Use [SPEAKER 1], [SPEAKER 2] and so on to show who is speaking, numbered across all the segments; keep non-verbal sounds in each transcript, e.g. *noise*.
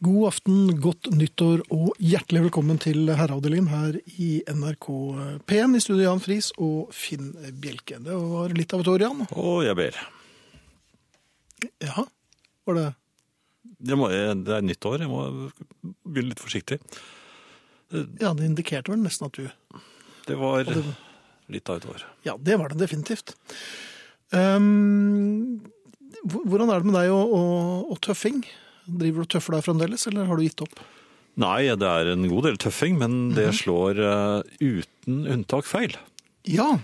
[SPEAKER 1] God aften, godt nyttår og hjertelig velkommen til Herreavdelingen her i NRK P1. I studio Jan Friis og Finn Bjelke. Det var litt av et år, Jan.
[SPEAKER 2] Å, jeg ber.
[SPEAKER 1] Jaha, var det
[SPEAKER 2] Jeg må, jeg, det er nytt år, jeg må begynne litt forsiktig.
[SPEAKER 1] Ja, det indikerte vel nesten at du
[SPEAKER 2] Det var litt av et år.
[SPEAKER 1] Ja, det var det definitivt. Ehm, hvor- hvordan er det med deg og, og, og tøffing? Driver du og tøffer deg fremdeles, eller har du gitt opp?
[SPEAKER 2] Nei, det er en god del tøffing, men det
[SPEAKER 1] Mhm.
[SPEAKER 2] slår eh, uten unntak feil.
[SPEAKER 1] Ja,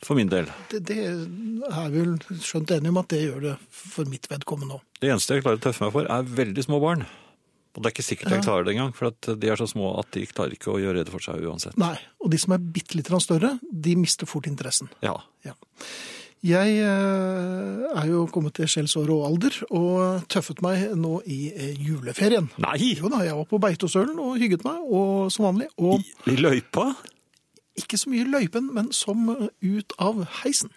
[SPEAKER 2] For min del.
[SPEAKER 1] det, det er vi vel skjønt enige om at det gjør det for mitt vedkommende òg.
[SPEAKER 2] Det eneste jeg klarer å tøffe meg for, er veldig små barn. Og det er ikke sikkert jeg klarer det engang, for at de er så små at de klarer ikke å gjøre rede for seg uansett.
[SPEAKER 1] Nei, og de som er bitte litt større, de mister fort interessen.
[SPEAKER 2] Ja.
[SPEAKER 1] Ja. Jeg eh, er jo kommet til skjellsår og alder, og tøffet meg nå i eh, juleferien.
[SPEAKER 2] Nei!
[SPEAKER 1] Jo da, jeg var på Beitostølen og hygget meg, og som vanlig. Og
[SPEAKER 2] I løypa?
[SPEAKER 1] ikke så mye i løypen, men som eh, ut av heisen.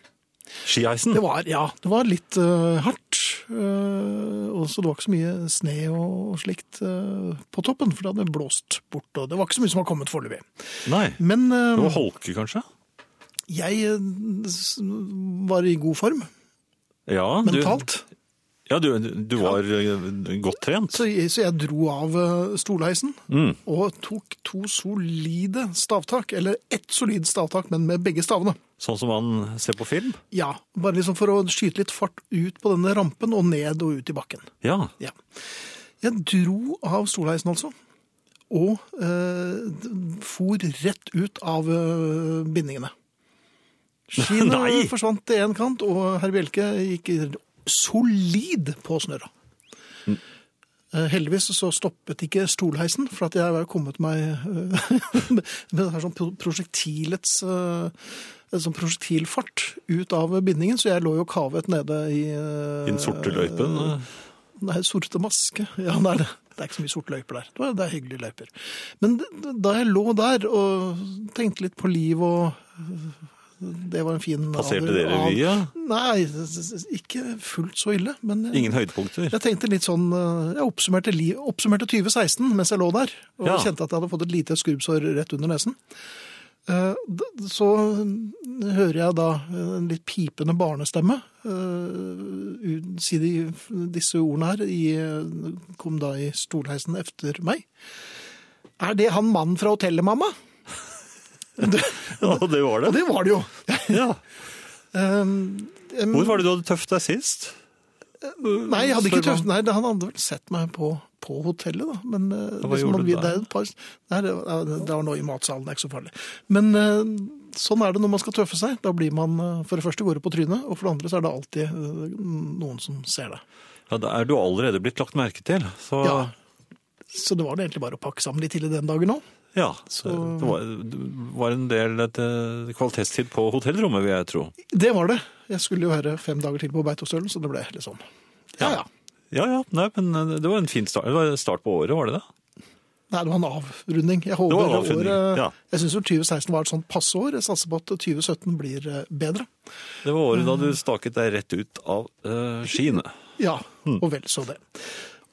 [SPEAKER 2] Skieisen?
[SPEAKER 1] Det var, ja, det var litt eh, hardt, eh, og så det var ikke så mye sne og, og slikt eh, på toppen, for det hadde blåst bort, og det var ikke så mye som har kommet foreløpig.
[SPEAKER 2] Nei.
[SPEAKER 1] Men eh,
[SPEAKER 2] Det var holke, kanskje?
[SPEAKER 1] jeg eh, s- var i god form,
[SPEAKER 2] Ja, du,
[SPEAKER 1] mentalt.
[SPEAKER 2] ja, du, du var eh, godt trent.
[SPEAKER 1] Så jeg, så jeg dro av eh, stolheisen
[SPEAKER 2] Mm.
[SPEAKER 1] og tok to solide stavtak, eller ett solid stavtak, men med begge stavene.
[SPEAKER 2] Sånn som man ser på film?
[SPEAKER 1] Ja, bare liksom for å skyte litt fart ut på denne rampen og ned og ut i bakken.
[SPEAKER 2] Ja.
[SPEAKER 1] Ja. Jeg dro av stolheisen altså, og eh, d- for rett ut av eh, bindingene.
[SPEAKER 2] Nei! *laughs*
[SPEAKER 1] Skiene forsvant til en kant, og herr Bjelke gikk solid på snørra.
[SPEAKER 2] Mm.
[SPEAKER 1] Eh, Heldigvis så stoppet ikke stolheisen, for at jeg var kommet meg eh, *laughs* med det her sånn pro- prosjektilets eh, en sånn prosjektilfart ut av bindingen, så jeg lå jo kavet nede i eh,
[SPEAKER 2] I den sorte løypen? eh.
[SPEAKER 1] Nei, sorte maske. Ja, nei, det det er ikke så mye sorte løyper der. Det er, det er hyggelige løyper. Men d- d- da jeg lå der og tenkte litt på liv og øh, Det var en fin
[SPEAKER 2] Passerte
[SPEAKER 1] alder
[SPEAKER 2] det
[SPEAKER 1] av-
[SPEAKER 2] revyet?
[SPEAKER 1] Nei, s- s- ikke fullt så ille. Men øh, jeg, *laughs*
[SPEAKER 2] Ingen høydepunkter?
[SPEAKER 1] jeg tenkte litt sånn øh, Jeg oppsummerte, liv, oppsummerte 2016 mens jeg lå der, og
[SPEAKER 2] Ja.
[SPEAKER 1] kjente at jeg hadde fått et lite skrubbsår rett under nesen. Eh, d- Så øh, hører jeg da øh, en litt pipende barnestemme øh, ut- si de, disse ordene her. I, øh, kom da i stolheisen efter meg. Er det han mannen fra hotellet, mamma? Det,
[SPEAKER 2] Ja, det var
[SPEAKER 1] og
[SPEAKER 2] det.
[SPEAKER 1] det var det jo.
[SPEAKER 2] Ja.
[SPEAKER 1] Ehm, em,
[SPEAKER 2] Hvor var det du hadde tøft deg sist?
[SPEAKER 1] Nei, jeg hadde ikke
[SPEAKER 2] Sorry,
[SPEAKER 1] tøft. Nei, han hadde vel sett meg på, på hotellet, da. Men eh,
[SPEAKER 2] hva
[SPEAKER 1] hvis
[SPEAKER 2] gjorde
[SPEAKER 1] man
[SPEAKER 2] du
[SPEAKER 1] vil-
[SPEAKER 2] der?
[SPEAKER 1] det er et par Nei, det, var- det var noe i matsalen, det er ikke så farlig. Men eh, sånn er det når man skal tøffe seg. Da blir man eh, For det første går det på trynet, og for det andre så er det alltid eh, noen som ser deg.
[SPEAKER 2] Ja, da er du allerede blitt lagt merke til. Så, ja.
[SPEAKER 1] Ja. Så det var det egentlig bare å pakke sammen litt til i den dagen òg.
[SPEAKER 2] så det var, det var en del et, eh, kvalitetstid på hotellrommet, vil jeg tro.
[SPEAKER 1] Det var det. Jeg skulle jo være fem dager til på Beitostølen, så det ble litt sånn. Ja, ja.
[SPEAKER 2] Ja, ja, nei, men eh, det var en fin start, det var en start på året, var det det?
[SPEAKER 1] Nei, det var en avrunding. Jeg håper
[SPEAKER 2] Det var en avrunding,
[SPEAKER 1] året
[SPEAKER 2] ja.
[SPEAKER 1] Jeg syns 2016 var et sånt passeår. Jeg satser på at 2017 blir eh, bedre.
[SPEAKER 2] Det var året da
[SPEAKER 1] Mm.
[SPEAKER 2] du staket deg rett ut av eh, skiene.
[SPEAKER 1] Ja,
[SPEAKER 2] Mm.
[SPEAKER 1] og vel så det.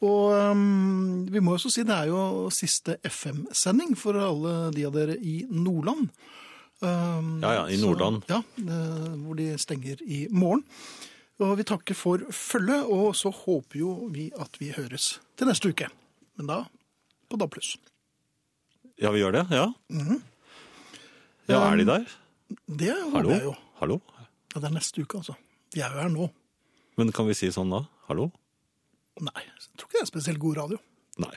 [SPEAKER 1] Og øhm, vi må jo så si det er jo siste FM-sending for alle de av dere i Nordland. Øhm,
[SPEAKER 2] Ja, ja, i
[SPEAKER 1] så-
[SPEAKER 2] Nordland.
[SPEAKER 1] ja, øh, hvor de stenger i morgen. Og vi takker for følget, og så håper jo vi at vi høres til neste uke. Men da på DAB+.
[SPEAKER 2] Ja, vi gjør det, ja. Ja, er de der?
[SPEAKER 1] Mm-hmm. Det håper
[SPEAKER 2] Hallo?
[SPEAKER 1] jeg jo.
[SPEAKER 2] Hallo?
[SPEAKER 1] Ja, det er neste uke, altså. De er jo her nå.
[SPEAKER 2] Men kan vi si sånn da? Hallo?
[SPEAKER 1] Nei, jeg tror ikke det er spesielt god radio.
[SPEAKER 2] Nei.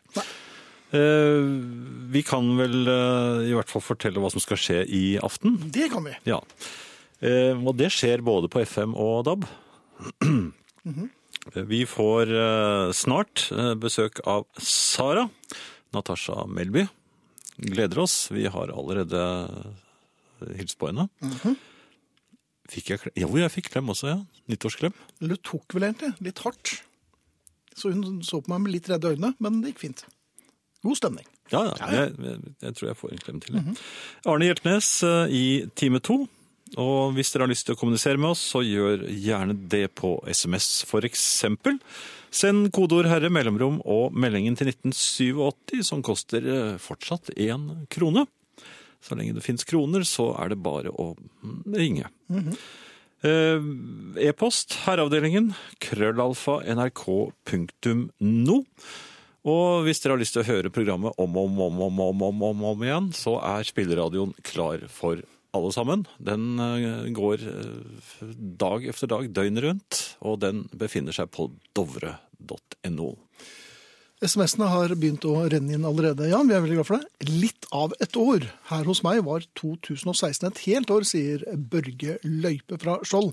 [SPEAKER 2] Eh, vi kan vel eh, i hvert fall fortelle hva som skal skje i aften.
[SPEAKER 1] Det kan vi.
[SPEAKER 2] Ja. Eh, og det skjer både på FM og DAB. Vi får eh, snart eh, besøk av Sara, Natasha Melby. Gleder oss. Vi har allerede eh, hilst på henne. Fikk jeg klem? Jo, jeg fikk klem også, ja. Nyttårsklem.
[SPEAKER 1] Eller det tok vel egentlig litt hardt. Så hun så på meg med litt redde øyne, men det gikk fint. God stemning.
[SPEAKER 2] Ja, ja. Jeg, jeg, jeg tror jeg får en klem til. jeg. Arne Hjeltnes eh, i time to. Og hvis dere har lyst til å kommunisere med oss, så gjør gjerne det på SMS, for eksempel. Send kodeord 'herre', mellomrom og meldingen til 1987, som koster eh, fortsatt én krone. Så lenge det fins kroner, så er det bare å mm, ringe. Eh, E-post herreavdelingen krøllalfa nrk.no. Og hvis dere har lyst til å høre programmet om og om, om, om, om, om, om, om igjen, så er spilleradioen klar for alle sammen. Den eh, går eh, dag efter dag, døgnet rundt, og den befinner seg på dovre.no.
[SPEAKER 1] SMS-ene har begynt å renne inn allerede. Jan, vi er veldig glad for det. Litt av et år. Her hos meg var 2016 et helt år, sier Børge Løype fra Skjold.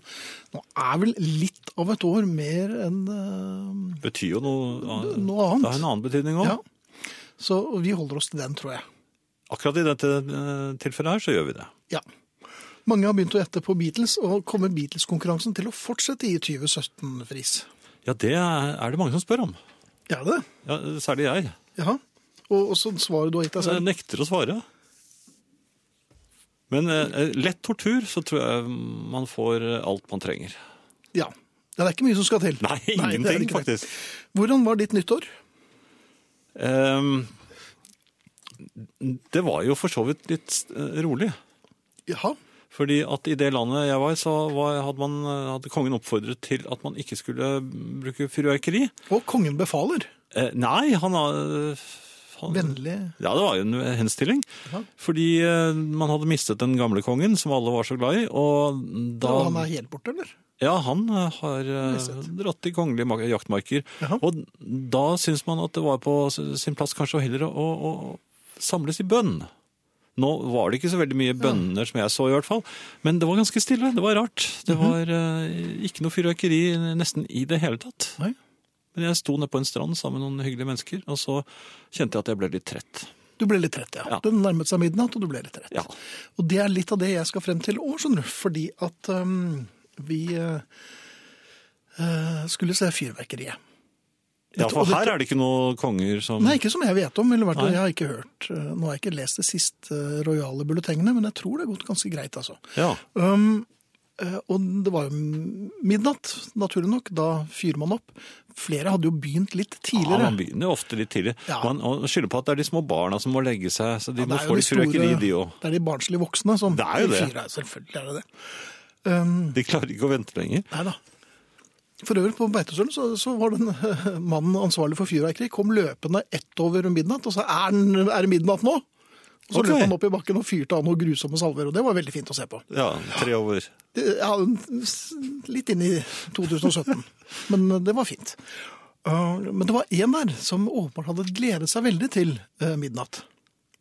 [SPEAKER 1] Nå er vel litt av et år mer enn eh,
[SPEAKER 2] Betyr jo noe,
[SPEAKER 1] noe
[SPEAKER 2] eh, Det har en
[SPEAKER 1] annet.
[SPEAKER 2] annen betydning òg.
[SPEAKER 1] Ja. Så vi holder oss til den, tror jeg.
[SPEAKER 2] Akkurat i dette eh, tilfellet her så gjør vi det.
[SPEAKER 1] Ja. Mange har begynt å gjette på Beatles, og kommer Beatles-konkurransen til å fortsette i 2017-fris?
[SPEAKER 2] Ja, det er det mange som spør om.
[SPEAKER 1] Ja, det.
[SPEAKER 2] Ja, særlig jeg.
[SPEAKER 1] Jaha. Og også svaret du har gitt deg
[SPEAKER 2] Jeg
[SPEAKER 1] selv.
[SPEAKER 2] nekter å svare. Men eh, lett tortur, så tror jeg man får alt man trenger.
[SPEAKER 1] Ja. Det er ikke mye som skal til.
[SPEAKER 2] Eh, *laughs* Nei,
[SPEAKER 1] det er
[SPEAKER 2] ingenting,
[SPEAKER 1] ikke det.
[SPEAKER 2] faktisk.
[SPEAKER 1] Hvordan var ditt nyttår?
[SPEAKER 2] Ehm, det var jo for så vidt litt eh, rolig.
[SPEAKER 1] Jaha.
[SPEAKER 2] Fordi at i det landet jeg var, så var, hadde, man, eh, hadde kongen oppfordret til at man ikke skulle bruke fyrverkeri.
[SPEAKER 1] Og kongen befaler.
[SPEAKER 2] Eh, nei, han, har- han
[SPEAKER 1] Vennlig.
[SPEAKER 2] Ja, det var jo en henstilling.
[SPEAKER 1] Ja.
[SPEAKER 2] Fordi eh, man hadde mistet den gamle kongen, som alle var så glad i. Og da
[SPEAKER 1] Og han er helt borte, eller?
[SPEAKER 2] Ja, han eh, har eh,
[SPEAKER 1] Mistet.
[SPEAKER 2] dratt i kongelige ma- jaktmarker.
[SPEAKER 1] Jaha.
[SPEAKER 2] Og da syns man at det var på s- sin plass kanskje heller å, å, å samles i bønn. Nå var det ikke så veldig mye bønner som jeg så i hvert fall, men det var ganske stille. Det var rart. Det var eh, ikke noe fyrverkeri nesten i det hele tatt.
[SPEAKER 1] Nei.
[SPEAKER 2] Men jeg sto nede på en strand sammen med noen hyggelige mennesker, og så kjente jeg at jeg ble litt trett.
[SPEAKER 1] Du ble litt trett, ja.
[SPEAKER 2] Ja.
[SPEAKER 1] Den nærmet seg midnatt, og du ble litt trett.
[SPEAKER 2] Ja.
[SPEAKER 1] Og det er litt av det jeg skal frem til år, skjønner du. Fordi at øhm, vi øh, øh, skulle se fyrverkeriet.
[SPEAKER 2] Ja,
[SPEAKER 1] Dette-
[SPEAKER 2] for
[SPEAKER 1] og dette-
[SPEAKER 2] her er det ikke noen konger som
[SPEAKER 1] Nei, ikke som jeg vet om. eller hvert fall,
[SPEAKER 2] Mm. Nei.
[SPEAKER 1] Jeg har ikke hørt. øh, Nå har jeg ikke lest det siste øh, rojale bulletengene, men jeg tror det har gått ganske greit, altså.
[SPEAKER 2] Ja.
[SPEAKER 1] Um, eh, og det var jo midnatt, naturlig nok. Da fyrer man opp. Flere hadde jo begynt litt
[SPEAKER 2] ja,
[SPEAKER 1] tidligere.
[SPEAKER 2] man begynner jo ofte litt tidlig.
[SPEAKER 1] Ja.
[SPEAKER 2] Man og skylder på at det er de små barna som må legge seg, så de
[SPEAKER 1] Det
[SPEAKER 2] må
[SPEAKER 1] er jo
[SPEAKER 2] få litt fyrverkeri, de òg.
[SPEAKER 1] det er de barnslige voksne som
[SPEAKER 2] Det er jo det.
[SPEAKER 1] fyrer. Selvfølgelig er det det. Um,
[SPEAKER 2] De klarer ikke å vente lenger.
[SPEAKER 1] nei da. For øvrig, på Beitostølen så, så var den *laughs* eh, mannen ansvarlig for fyrverkeri kom løpende ett over midnatt og sa er, den, er det midnatt nå? Og så
[SPEAKER 2] Ok.
[SPEAKER 1] løp han opp i bakken og fyrte av noen grusomme salver, og det var veldig fint å se på.
[SPEAKER 2] Ja, tre over.
[SPEAKER 1] Det- Ja, s- litt inn i
[SPEAKER 2] *laughs*
[SPEAKER 1] 2017. Men det var fint. Uh, Men det var en der som åpenbart hadde gledet seg veldig til eh, midnatt.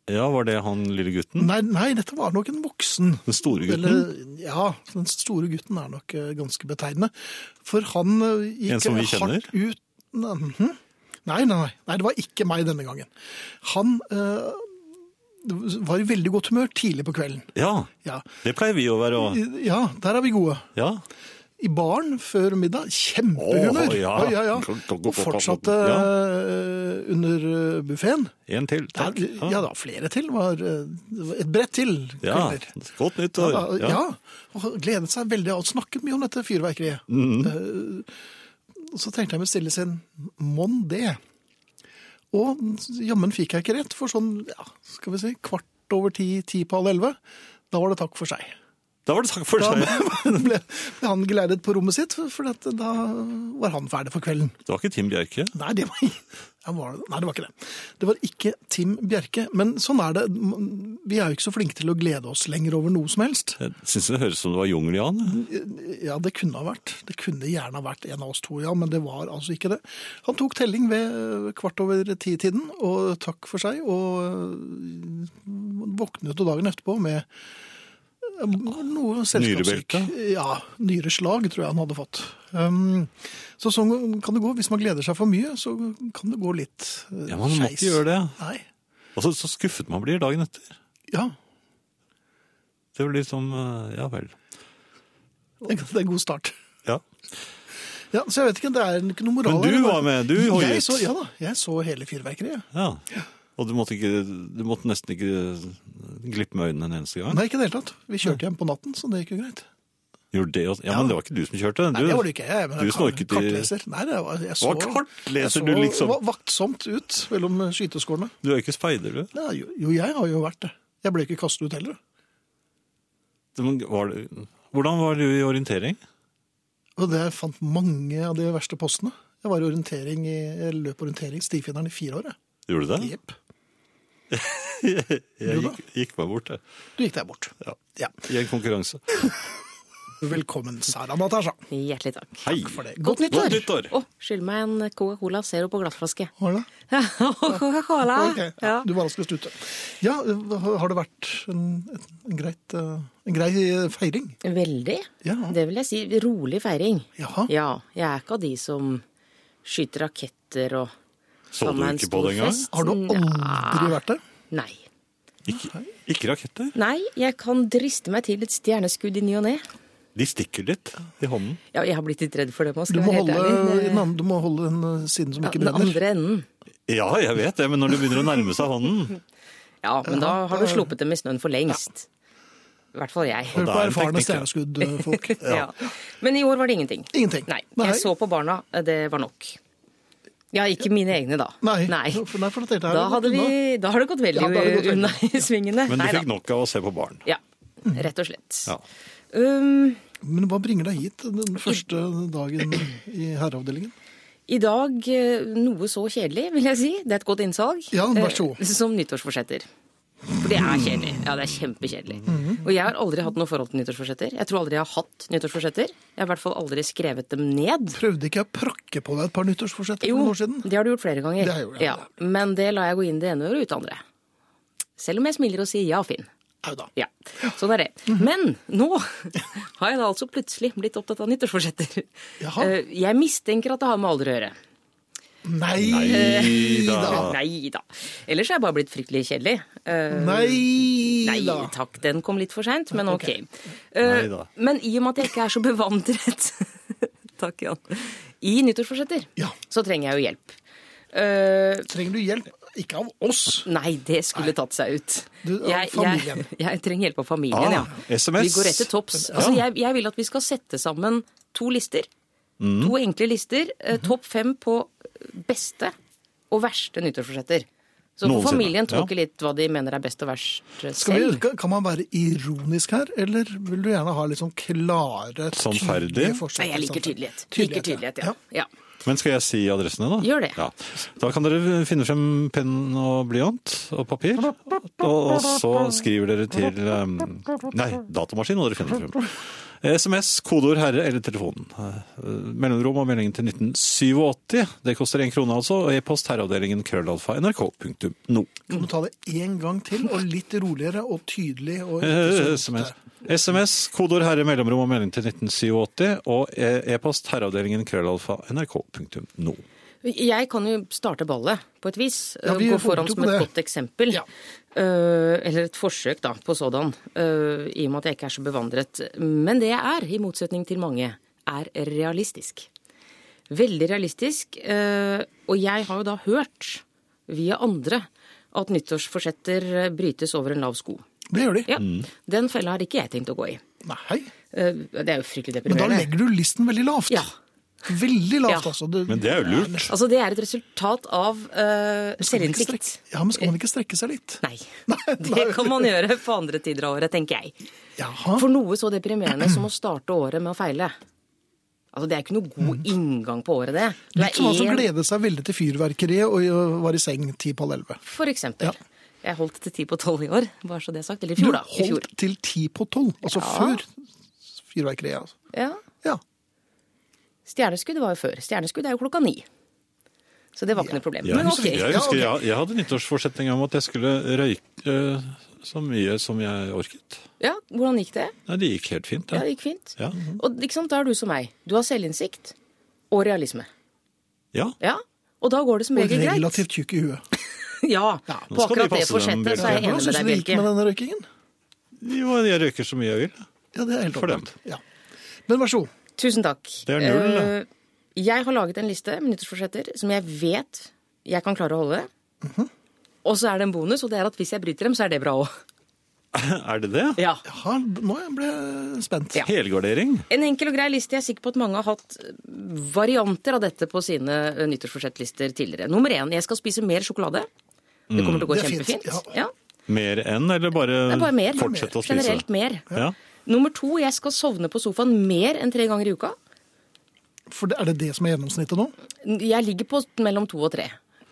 [SPEAKER 2] Ja, var det han lille gutten?
[SPEAKER 1] Nei, nei, dette var nok en voksen.
[SPEAKER 2] Den store gutten?
[SPEAKER 1] Eller, ja, den store gutten er nok eh, ganske betegnende. For han eh, gikk
[SPEAKER 2] En som vi kjenner?
[SPEAKER 1] hardt ut Nei, mhm. Nei, nei, nei, nei, det var ikke meg denne gangen. Han eh, var i veldig godt humør tidlig på kvelden.
[SPEAKER 2] Ja,
[SPEAKER 1] Ja,
[SPEAKER 2] det pleier vi å være. Og...
[SPEAKER 1] ja der er vi gode.
[SPEAKER 2] Ja.
[SPEAKER 1] i baren før middag. Kjempehumør!
[SPEAKER 2] Åh, ja.
[SPEAKER 1] Oi, ja, ja.
[SPEAKER 2] Klok- klok- klok-
[SPEAKER 1] Og fortsatte
[SPEAKER 2] klok- klok-
[SPEAKER 1] eh, under buffeen.
[SPEAKER 2] En til, takk.
[SPEAKER 1] Ja, ja da, flere til. Var, eh, det var et brett til.
[SPEAKER 2] Ja,
[SPEAKER 1] kvelder.
[SPEAKER 2] godt
[SPEAKER 1] Ja,
[SPEAKER 2] nyttår.
[SPEAKER 1] da, ja. Og gledet seg veldig og snakket mye om dette fyrverkeriet. Eh, og så tenkte jeg med stille sinn mon det? Og jammen fikk jeg ikke rett, for sånn ja, skal vi si, kvart over ti, ti på halv elleve, da var det takk for seg.
[SPEAKER 2] Da var det takk for
[SPEAKER 1] Da
[SPEAKER 2] seg.
[SPEAKER 1] *laughs* ble, ble han geleidet på rommet sitt, for at da var han ferdig for kvelden.
[SPEAKER 2] Det var ikke Tim Bjerke.
[SPEAKER 1] Nei det, var, *laughs* han var, nei, det var ikke det. Det var ikke Tim Bjerke. Men sånn er det. Vi er jo ikke så flinke til å glede oss lenger over noe som helst.
[SPEAKER 2] Jeg synes det høres ut som det var jungel, Jan.
[SPEAKER 1] Ja, det kunne ha vært. Det kunne gjerne ha vært en av oss to, ja, men det var altså ikke det. Han tok telling ved eh, kvart over ti-tiden, og takk for seg, og eh, våknet jo dagen etterpå med eh, noe selskapssyk.
[SPEAKER 2] Nyrebelte?
[SPEAKER 1] Ja, nyreslag tror jeg han hadde fått. Um, så sånn kan det gå. Hvis man gleder seg for mye, så kan det gå litt eh,
[SPEAKER 2] Ja, man må
[SPEAKER 1] skeis.
[SPEAKER 2] ikke gjøre det.
[SPEAKER 1] Nei,
[SPEAKER 2] Og så, så skuffet man blir dagen etter.
[SPEAKER 1] ja.
[SPEAKER 2] Det blir liksom, eh, ja vel.
[SPEAKER 1] Det er en god start.
[SPEAKER 2] Ja.
[SPEAKER 1] Ja, så jeg vet ikke, det er ikke noe moral.
[SPEAKER 2] Men du
[SPEAKER 1] her, bare-
[SPEAKER 2] var med, du hoiet.
[SPEAKER 1] Jeg så- Ja da, jeg så hele fyrverkeriet.
[SPEAKER 2] Ja. Og du måtte, ikke, du måtte nesten ikke glippe med øynene en eneste gang.
[SPEAKER 1] Nei, ikke i det hele tatt. Vi kjørte hjem på natten, så det gikk jo greit.
[SPEAKER 2] Gjorde det også? Ja, men det var ikke du som kjørte. Du,
[SPEAKER 1] Nei, det var det ikke jeg. Men
[SPEAKER 2] du
[SPEAKER 1] jeg kan-
[SPEAKER 2] snorket i-
[SPEAKER 1] kartleser. Nei, det var, jeg så,
[SPEAKER 2] Hva kartleser
[SPEAKER 1] jeg så
[SPEAKER 2] du liksom?
[SPEAKER 1] va- vaktsomt ut mellom skyteskålene.
[SPEAKER 2] Du er jo ikke speider, du.
[SPEAKER 1] Ja, jo, jo, jeg har jo vært det. Jeg ble ikke kastet ut heller.
[SPEAKER 2] Men Var du. Hvordan var du i orientering?
[SPEAKER 1] Og det jeg fant mange av de verste postene. Jeg var i orientering i, jeg løp orientering stifinneren i fire år. jeg.
[SPEAKER 2] Gjorde du det?
[SPEAKER 1] Jepp.
[SPEAKER 2] Jeg
[SPEAKER 1] Du da?
[SPEAKER 2] gikk, gikk meg bort, jeg.
[SPEAKER 1] Du gikk deg bort.
[SPEAKER 2] Ja.
[SPEAKER 1] Ja.
[SPEAKER 2] I en konkurranse.
[SPEAKER 1] Velkommen, Sara Natasha.
[SPEAKER 3] Hjertelig takk.
[SPEAKER 2] Hei!
[SPEAKER 1] For det. Godt
[SPEAKER 3] Godt
[SPEAKER 1] nytt.
[SPEAKER 3] nyttår!
[SPEAKER 2] Godt nyttår!
[SPEAKER 3] Å, skyld meg en Coca-Cola Zero på *laughs* glassflaske.
[SPEAKER 1] Har du det?
[SPEAKER 3] Coca-Cola!
[SPEAKER 1] Ok, ja,
[SPEAKER 3] Ja.
[SPEAKER 1] Du var raskest ute. Ja, har det vært en, en, greit, eh, en grei feiring?
[SPEAKER 3] Veldig.
[SPEAKER 1] Ja.
[SPEAKER 3] Det vil jeg si. Rolig feiring.
[SPEAKER 1] Jaha.
[SPEAKER 3] Ja, jeg er ikke av de som skyter raketter og
[SPEAKER 2] Så
[SPEAKER 3] har
[SPEAKER 2] du
[SPEAKER 3] meg en
[SPEAKER 2] ikke på
[SPEAKER 3] stor
[SPEAKER 2] det engang?
[SPEAKER 3] fest.
[SPEAKER 1] Har du aldri vært der?
[SPEAKER 3] Nei.
[SPEAKER 2] Ikke, ikke raketter.
[SPEAKER 3] Nei, jeg kan driste meg til et stjerneskudd i ny og ne.
[SPEAKER 2] De stikker litt i hånden.
[SPEAKER 3] Ja, jeg har blitt litt redd for det, må jeg
[SPEAKER 1] Du
[SPEAKER 3] skal
[SPEAKER 1] må,
[SPEAKER 3] være helt
[SPEAKER 1] holde,
[SPEAKER 3] ærlig.
[SPEAKER 1] den andre- du må holde den eh, siden som
[SPEAKER 3] Ja,
[SPEAKER 1] ikke
[SPEAKER 3] den
[SPEAKER 1] brenner.
[SPEAKER 3] andre enden.
[SPEAKER 2] Ja, jeg vet det, men når du begynner å nærme seg hånden
[SPEAKER 3] Ja, men da har du sluppet dem i snøen for lengst. I hvert fall jeg.
[SPEAKER 1] Hør
[SPEAKER 2] det
[SPEAKER 1] på
[SPEAKER 2] er en
[SPEAKER 1] erfarne
[SPEAKER 2] teknikk, ja.
[SPEAKER 1] stjerneskuddfolk.
[SPEAKER 3] *laughs* Ja. Men i år var det ingenting.
[SPEAKER 1] Ingenting.
[SPEAKER 3] Nei.
[SPEAKER 1] Nei.
[SPEAKER 3] Jeg så på barna, eh, det var nok. Ja, ikke mine egne, da.
[SPEAKER 1] Nei. For, nei, for dette her
[SPEAKER 3] Da,
[SPEAKER 1] er
[SPEAKER 3] hadde
[SPEAKER 1] unna.
[SPEAKER 3] vi, da har det gått veldig
[SPEAKER 1] Ja, da har det gått veldig.
[SPEAKER 3] unna i svingene.
[SPEAKER 2] Men du
[SPEAKER 3] Nei da.
[SPEAKER 2] fikk nok av å se på barn.
[SPEAKER 3] Ja, rett og slett.
[SPEAKER 2] Ja.
[SPEAKER 3] Um,
[SPEAKER 1] Men hva bringer deg hit den første dagen i herreavdelingen?
[SPEAKER 3] I dag eh, noe så kjedelig, vil jeg si. Det er et godt innsalg.
[SPEAKER 1] Ja, vær så god.
[SPEAKER 3] eh, Som nyttårsforsetter. For det er kjedelig. Ja, det er kjempekjedelig.
[SPEAKER 1] Mhm.
[SPEAKER 3] Og jeg har aldri hatt noe forhold til nyttårsforsetter. Jeg tror aldri jeg har hatt nyttårsforsetter. Jeg har i hvert fall aldri skrevet dem ned.
[SPEAKER 1] Prøvde ikke jeg å prakke på deg et par nyttårsforsetter for
[SPEAKER 3] Jo,
[SPEAKER 1] noen år siden?
[SPEAKER 3] det har du gjort flere ganger.
[SPEAKER 1] Det har jeg gjort, ja.
[SPEAKER 3] ja. Men det lar jeg gå inn det ene øret og ut det andre. Selv om jeg smiler og sier ja, Finn.
[SPEAKER 1] Au da.
[SPEAKER 3] Ja, sånn er det.
[SPEAKER 1] Mhm.
[SPEAKER 3] Men nå *laughs* har jeg da altså plutselig blitt opptatt av nyttårsforsetter.
[SPEAKER 1] Jaha.
[SPEAKER 3] Eh, Jeg mistenker at det har med alder å gjøre.
[SPEAKER 1] Nei,
[SPEAKER 2] Nei da.
[SPEAKER 3] Nei da. Ellers er jeg bare blitt fryktelig kjedelig. Eh,
[SPEAKER 1] Nei
[SPEAKER 3] Nei
[SPEAKER 1] da.
[SPEAKER 3] takk, den kom litt for seint, men ok.
[SPEAKER 1] Ok.
[SPEAKER 3] Eh,
[SPEAKER 2] Neida.
[SPEAKER 3] men i og med at jeg ikke er så bevandret *laughs* Takk, Jan. I nyttårsforsetter
[SPEAKER 1] Ja.
[SPEAKER 3] så trenger jeg jo hjelp. Eh,
[SPEAKER 1] Trenger du hjelp? Ikke av oss.
[SPEAKER 3] Nei, det skulle tatt seg ut.
[SPEAKER 1] Du, av
[SPEAKER 3] jeg, jeg,
[SPEAKER 1] familien.
[SPEAKER 3] *laughs* jeg trenger hjelp av familien,
[SPEAKER 2] Ah,
[SPEAKER 3] ja.
[SPEAKER 2] SMS.
[SPEAKER 3] Vi går rett til topps. Altså, jeg, jeg vil at vi skal sette sammen to lister.
[SPEAKER 2] Mm.
[SPEAKER 3] To enkle lister. eh,
[SPEAKER 2] Mhm.
[SPEAKER 3] Topp fem på eh, beste og verste nyttårsforsetter. Så får
[SPEAKER 2] Noensinne,
[SPEAKER 3] familien
[SPEAKER 2] ja.
[SPEAKER 3] tolke litt hva de mener er best og verst eh,
[SPEAKER 1] Skal vi,
[SPEAKER 3] selv.
[SPEAKER 1] kan- kan man være ironisk her, eller vil du gjerne ha litt sånn klare,
[SPEAKER 2] Sannferdig?
[SPEAKER 1] tydelige forsetter?
[SPEAKER 3] Nei, jeg liker tydelighet. Liker tydelighet, ja. ja.
[SPEAKER 2] Men skal jeg si adressene, da?
[SPEAKER 3] Gjør det.
[SPEAKER 2] Ja. Da kan dere finne frem penn og blyant og papir, og, og så skriver dere til um, Nei, datamaskin må dere finne frem. SMS, kodeord herre eller telefonen. Eh, Mellomrom og meldingen til 1987. Det koster én krone, altså. Og e-post herreavdelingen krøllalfa nrk.no.
[SPEAKER 1] Kan du ta det en gang til, og litt roligere og tydelig?
[SPEAKER 2] *laughs*
[SPEAKER 1] Og
[SPEAKER 2] Eh,
[SPEAKER 1] ikke så
[SPEAKER 2] SMS.
[SPEAKER 1] ofte?
[SPEAKER 2] SMS, kodeord herre, mellomrom og melding til 1987, og e- e-post herreavdelingen krøllalfa nrk.no.
[SPEAKER 3] Jeg kan jo starte ballet på et vis.
[SPEAKER 1] Ja, vi
[SPEAKER 3] Gå
[SPEAKER 1] håpet
[SPEAKER 3] foran
[SPEAKER 1] jo
[SPEAKER 3] som
[SPEAKER 1] på
[SPEAKER 3] et
[SPEAKER 1] det.
[SPEAKER 3] godt eksempel.
[SPEAKER 1] Ja.
[SPEAKER 3] Eh, eller et forsøk da, på sådan, eh, i og med at jeg ikke er så bevandret. Men det jeg er, i motsetning til mange, er realistisk. Veldig realistisk. eh, og jeg har jo da hørt via andre at nyttårsforsetter brytes over en lav sko.
[SPEAKER 1] Det gjør de.
[SPEAKER 3] Ja, Den fella har ikke jeg tenkt å gå i.
[SPEAKER 1] Nei.
[SPEAKER 3] Eh, det er jo
[SPEAKER 1] Men
[SPEAKER 3] fryktelig
[SPEAKER 1] da
[SPEAKER 3] deprimerende.
[SPEAKER 1] legger du listen veldig lavt.
[SPEAKER 3] Ja.
[SPEAKER 1] Veldig lavt,
[SPEAKER 3] Ja.
[SPEAKER 1] altså. Du-
[SPEAKER 2] Men det er jo lurt.
[SPEAKER 3] Altså, det er et resultat av eh,
[SPEAKER 1] Skal man ikke
[SPEAKER 3] selvinnsikt.
[SPEAKER 1] strekke- Ja, men skal man ikke strekke seg litt?
[SPEAKER 3] Nei.
[SPEAKER 1] Nei,
[SPEAKER 3] Det kan man gjøre på andre tider av året, tenker jeg.
[SPEAKER 1] Jaha.
[SPEAKER 3] For noe så deprimerende som å starte året med å feile. Altså, Det er ikke noe god inngang på året, det. Du
[SPEAKER 1] Litt som han som
[SPEAKER 3] en-
[SPEAKER 1] gledet seg veldig til fyrverkeriet og ø, var i seng ti på halv elleve.
[SPEAKER 3] For eksempel.
[SPEAKER 1] Ja.
[SPEAKER 3] Jeg holdt til ti på tolv i år, bare så det er sagt. Eller i
[SPEAKER 1] Du
[SPEAKER 3] fjor, da. I fjor.
[SPEAKER 1] holdt til ti på tolv, altså før fyrverkeriet. Altså.
[SPEAKER 3] Ja.
[SPEAKER 1] Ja.
[SPEAKER 3] Stjerneskudd var jo før. Stjerneskudd er jo klokka ni. Så det var ikke noe problem.
[SPEAKER 2] Jeg
[SPEAKER 3] Men
[SPEAKER 2] husker,
[SPEAKER 3] ok.
[SPEAKER 2] jeg, husker
[SPEAKER 1] Ja,
[SPEAKER 2] jeg, jeg hadde nyttårsforsetning om at jeg skulle røyke eh, så mye som jeg orket.
[SPEAKER 3] Ja, Hvordan gikk det?
[SPEAKER 2] Nei, det gikk helt fint.
[SPEAKER 3] Ja, det
[SPEAKER 2] Ja.
[SPEAKER 3] gikk fint.
[SPEAKER 2] Ja.
[SPEAKER 3] Og ikke sant, da er du som meg. Du har selvinnsikt og realisme.
[SPEAKER 2] ja.
[SPEAKER 3] Ja. Og da går det som
[SPEAKER 1] Og
[SPEAKER 3] regel greit.
[SPEAKER 1] relativt tjukk i huet.
[SPEAKER 3] *laughs* Ja,
[SPEAKER 2] nå
[SPEAKER 3] på
[SPEAKER 2] skal vi
[SPEAKER 3] akkurat det
[SPEAKER 2] passe dem,
[SPEAKER 3] forsettet så er jeg
[SPEAKER 1] Hvordan
[SPEAKER 2] Bjelke.
[SPEAKER 3] enig
[SPEAKER 1] syns
[SPEAKER 3] med
[SPEAKER 1] du det
[SPEAKER 3] deg,
[SPEAKER 1] gikk
[SPEAKER 3] Bjelke.
[SPEAKER 1] med denne røykingen?
[SPEAKER 2] Jo, jeg røyker så mye jeg vil. *laughs*
[SPEAKER 1] Ja, det er helt
[SPEAKER 2] For dem.
[SPEAKER 1] opplagt. Ja. Men vær så god.
[SPEAKER 3] Tusen takk.
[SPEAKER 2] Det er null, da.
[SPEAKER 3] Eh, Jeg har laget en liste med nyttårsforsetter som jeg vet
[SPEAKER 2] Mhm.
[SPEAKER 3] jeg kan klare å holde. Og så er det en bonus, og det er at hvis jeg bryter dem, så er det bra òg.
[SPEAKER 2] Er det det?
[SPEAKER 3] Ja.
[SPEAKER 1] Jaha, nå ble jeg spent.
[SPEAKER 3] Ja.
[SPEAKER 2] Helgardering?
[SPEAKER 3] En enkel og grei liste. Jeg er sikker på at mange har hatt eh, varianter av dette på sine eh, nyttårsforsettlister tidligere. Nummer én, jeg skal spise mer sjokolade. Det kommer til å gå
[SPEAKER 2] Mm.
[SPEAKER 1] Det er fint,
[SPEAKER 3] kjempefint.
[SPEAKER 1] ja.
[SPEAKER 3] Ja.
[SPEAKER 2] Mer enn, eller bare,
[SPEAKER 3] Det er bare mer.
[SPEAKER 2] fortsette å spise?
[SPEAKER 3] Generelt mer.
[SPEAKER 2] Ja.
[SPEAKER 3] Nummer to, jeg skal sovne på sofaen mer enn tre ganger i uka.
[SPEAKER 1] For det- er det det som er gjennomsnittet nå?
[SPEAKER 3] Jeg ligger på mellom to og tre.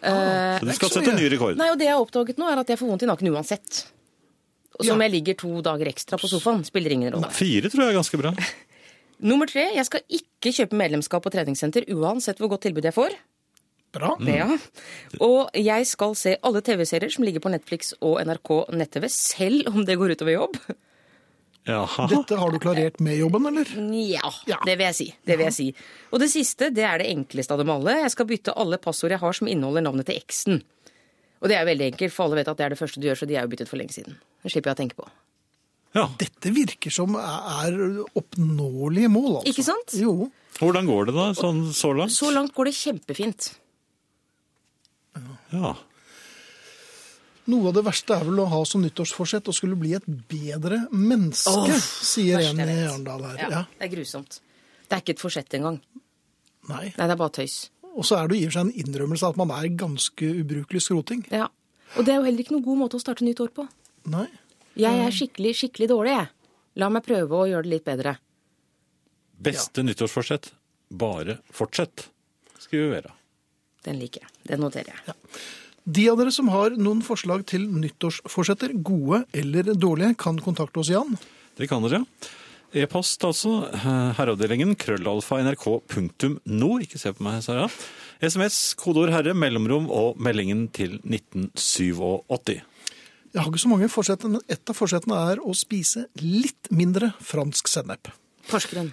[SPEAKER 2] Ah. Så
[SPEAKER 3] Eh,
[SPEAKER 2] du
[SPEAKER 1] Ikke
[SPEAKER 2] skal
[SPEAKER 1] så
[SPEAKER 2] sette
[SPEAKER 1] mye.
[SPEAKER 2] ny rekord?
[SPEAKER 3] nei, og det jeg har oppdaget nå, er at jeg får vondt i nakken uansett. Og Som
[SPEAKER 1] Ja.
[SPEAKER 3] jeg ligger to dager ekstra på sofaen, spiller ingen rolle.
[SPEAKER 2] Fire tror jeg er
[SPEAKER 3] *laughs*
[SPEAKER 2] ganske bra.
[SPEAKER 3] Nummer tre, jeg skal ikke kjøpe medlemskap på treningssenter uansett hvor godt tilbud jeg får.
[SPEAKER 1] Bra.
[SPEAKER 3] Ja. Og jeg skal se alle TV-serier som ligger på Netflix og NRK nett-TV, selv om det går utover jobb.
[SPEAKER 2] Jaha.
[SPEAKER 1] Dette har du klarert med jobben, eller?
[SPEAKER 3] Ja,
[SPEAKER 1] Ja.
[SPEAKER 3] det vil jeg si. Det vil jeg si. Og det siste, det er det enkleste av dem alle. Jeg skal bytte alle passord jeg har som inneholder navnet til eksen. Og det er jo veldig enkelt, for alle vet at det er det første du gjør, så de er jo byttet for lenge siden. Det slipper jeg å tenke på.
[SPEAKER 2] Ja.
[SPEAKER 1] Dette virker som er oppnåelige mål, altså.
[SPEAKER 3] Ikke sant?
[SPEAKER 1] Jo.
[SPEAKER 2] Hvordan går det da, sånn så langt?
[SPEAKER 3] Så langt går det kjempefint.
[SPEAKER 2] Ja.
[SPEAKER 1] Noe av det verste er vel å ha som nyttårsforsett å skulle bli et bedre menneske,
[SPEAKER 3] Åh,
[SPEAKER 1] sier
[SPEAKER 3] verst
[SPEAKER 1] en
[SPEAKER 3] jeg
[SPEAKER 1] i
[SPEAKER 3] vet.
[SPEAKER 1] Arendal her.
[SPEAKER 3] Ja,
[SPEAKER 1] Ja.
[SPEAKER 3] Det er grusomt. Det er ikke et forsett engang.
[SPEAKER 1] Nei.
[SPEAKER 3] Nei, det er bare tøys.
[SPEAKER 1] Og så er det jo i og for seg en innrømmelse av at man er ganske ubrukelig skroting.
[SPEAKER 3] Ja. Og det er jo heller ikke noen god måte å starte nytt år på.
[SPEAKER 1] Nei.
[SPEAKER 3] Jeg er skikkelig, skikkelig dårlig, jeg. La meg prøve å gjøre det litt bedre.
[SPEAKER 2] Beste nyttårsforsett? Bare fortsett, skal vi være.
[SPEAKER 3] Den liker jeg. Den noterer jeg.
[SPEAKER 1] De av dere som har noen forslag til nyttårsforsetter, gode eller dårlige, kan kontakte oss igjen.
[SPEAKER 2] Det kan dere. E-post altså, eh, herreavdelingen, krøllalfa nrk.no, ikke se på meg, Sara. SMS, kodeord herre, mellomrom og meldingen til 1987.
[SPEAKER 1] Jeg har ikke så mange forsett, men et av forsettene er å spise litt mindre fransk sennep.
[SPEAKER 3] Porsgrunn.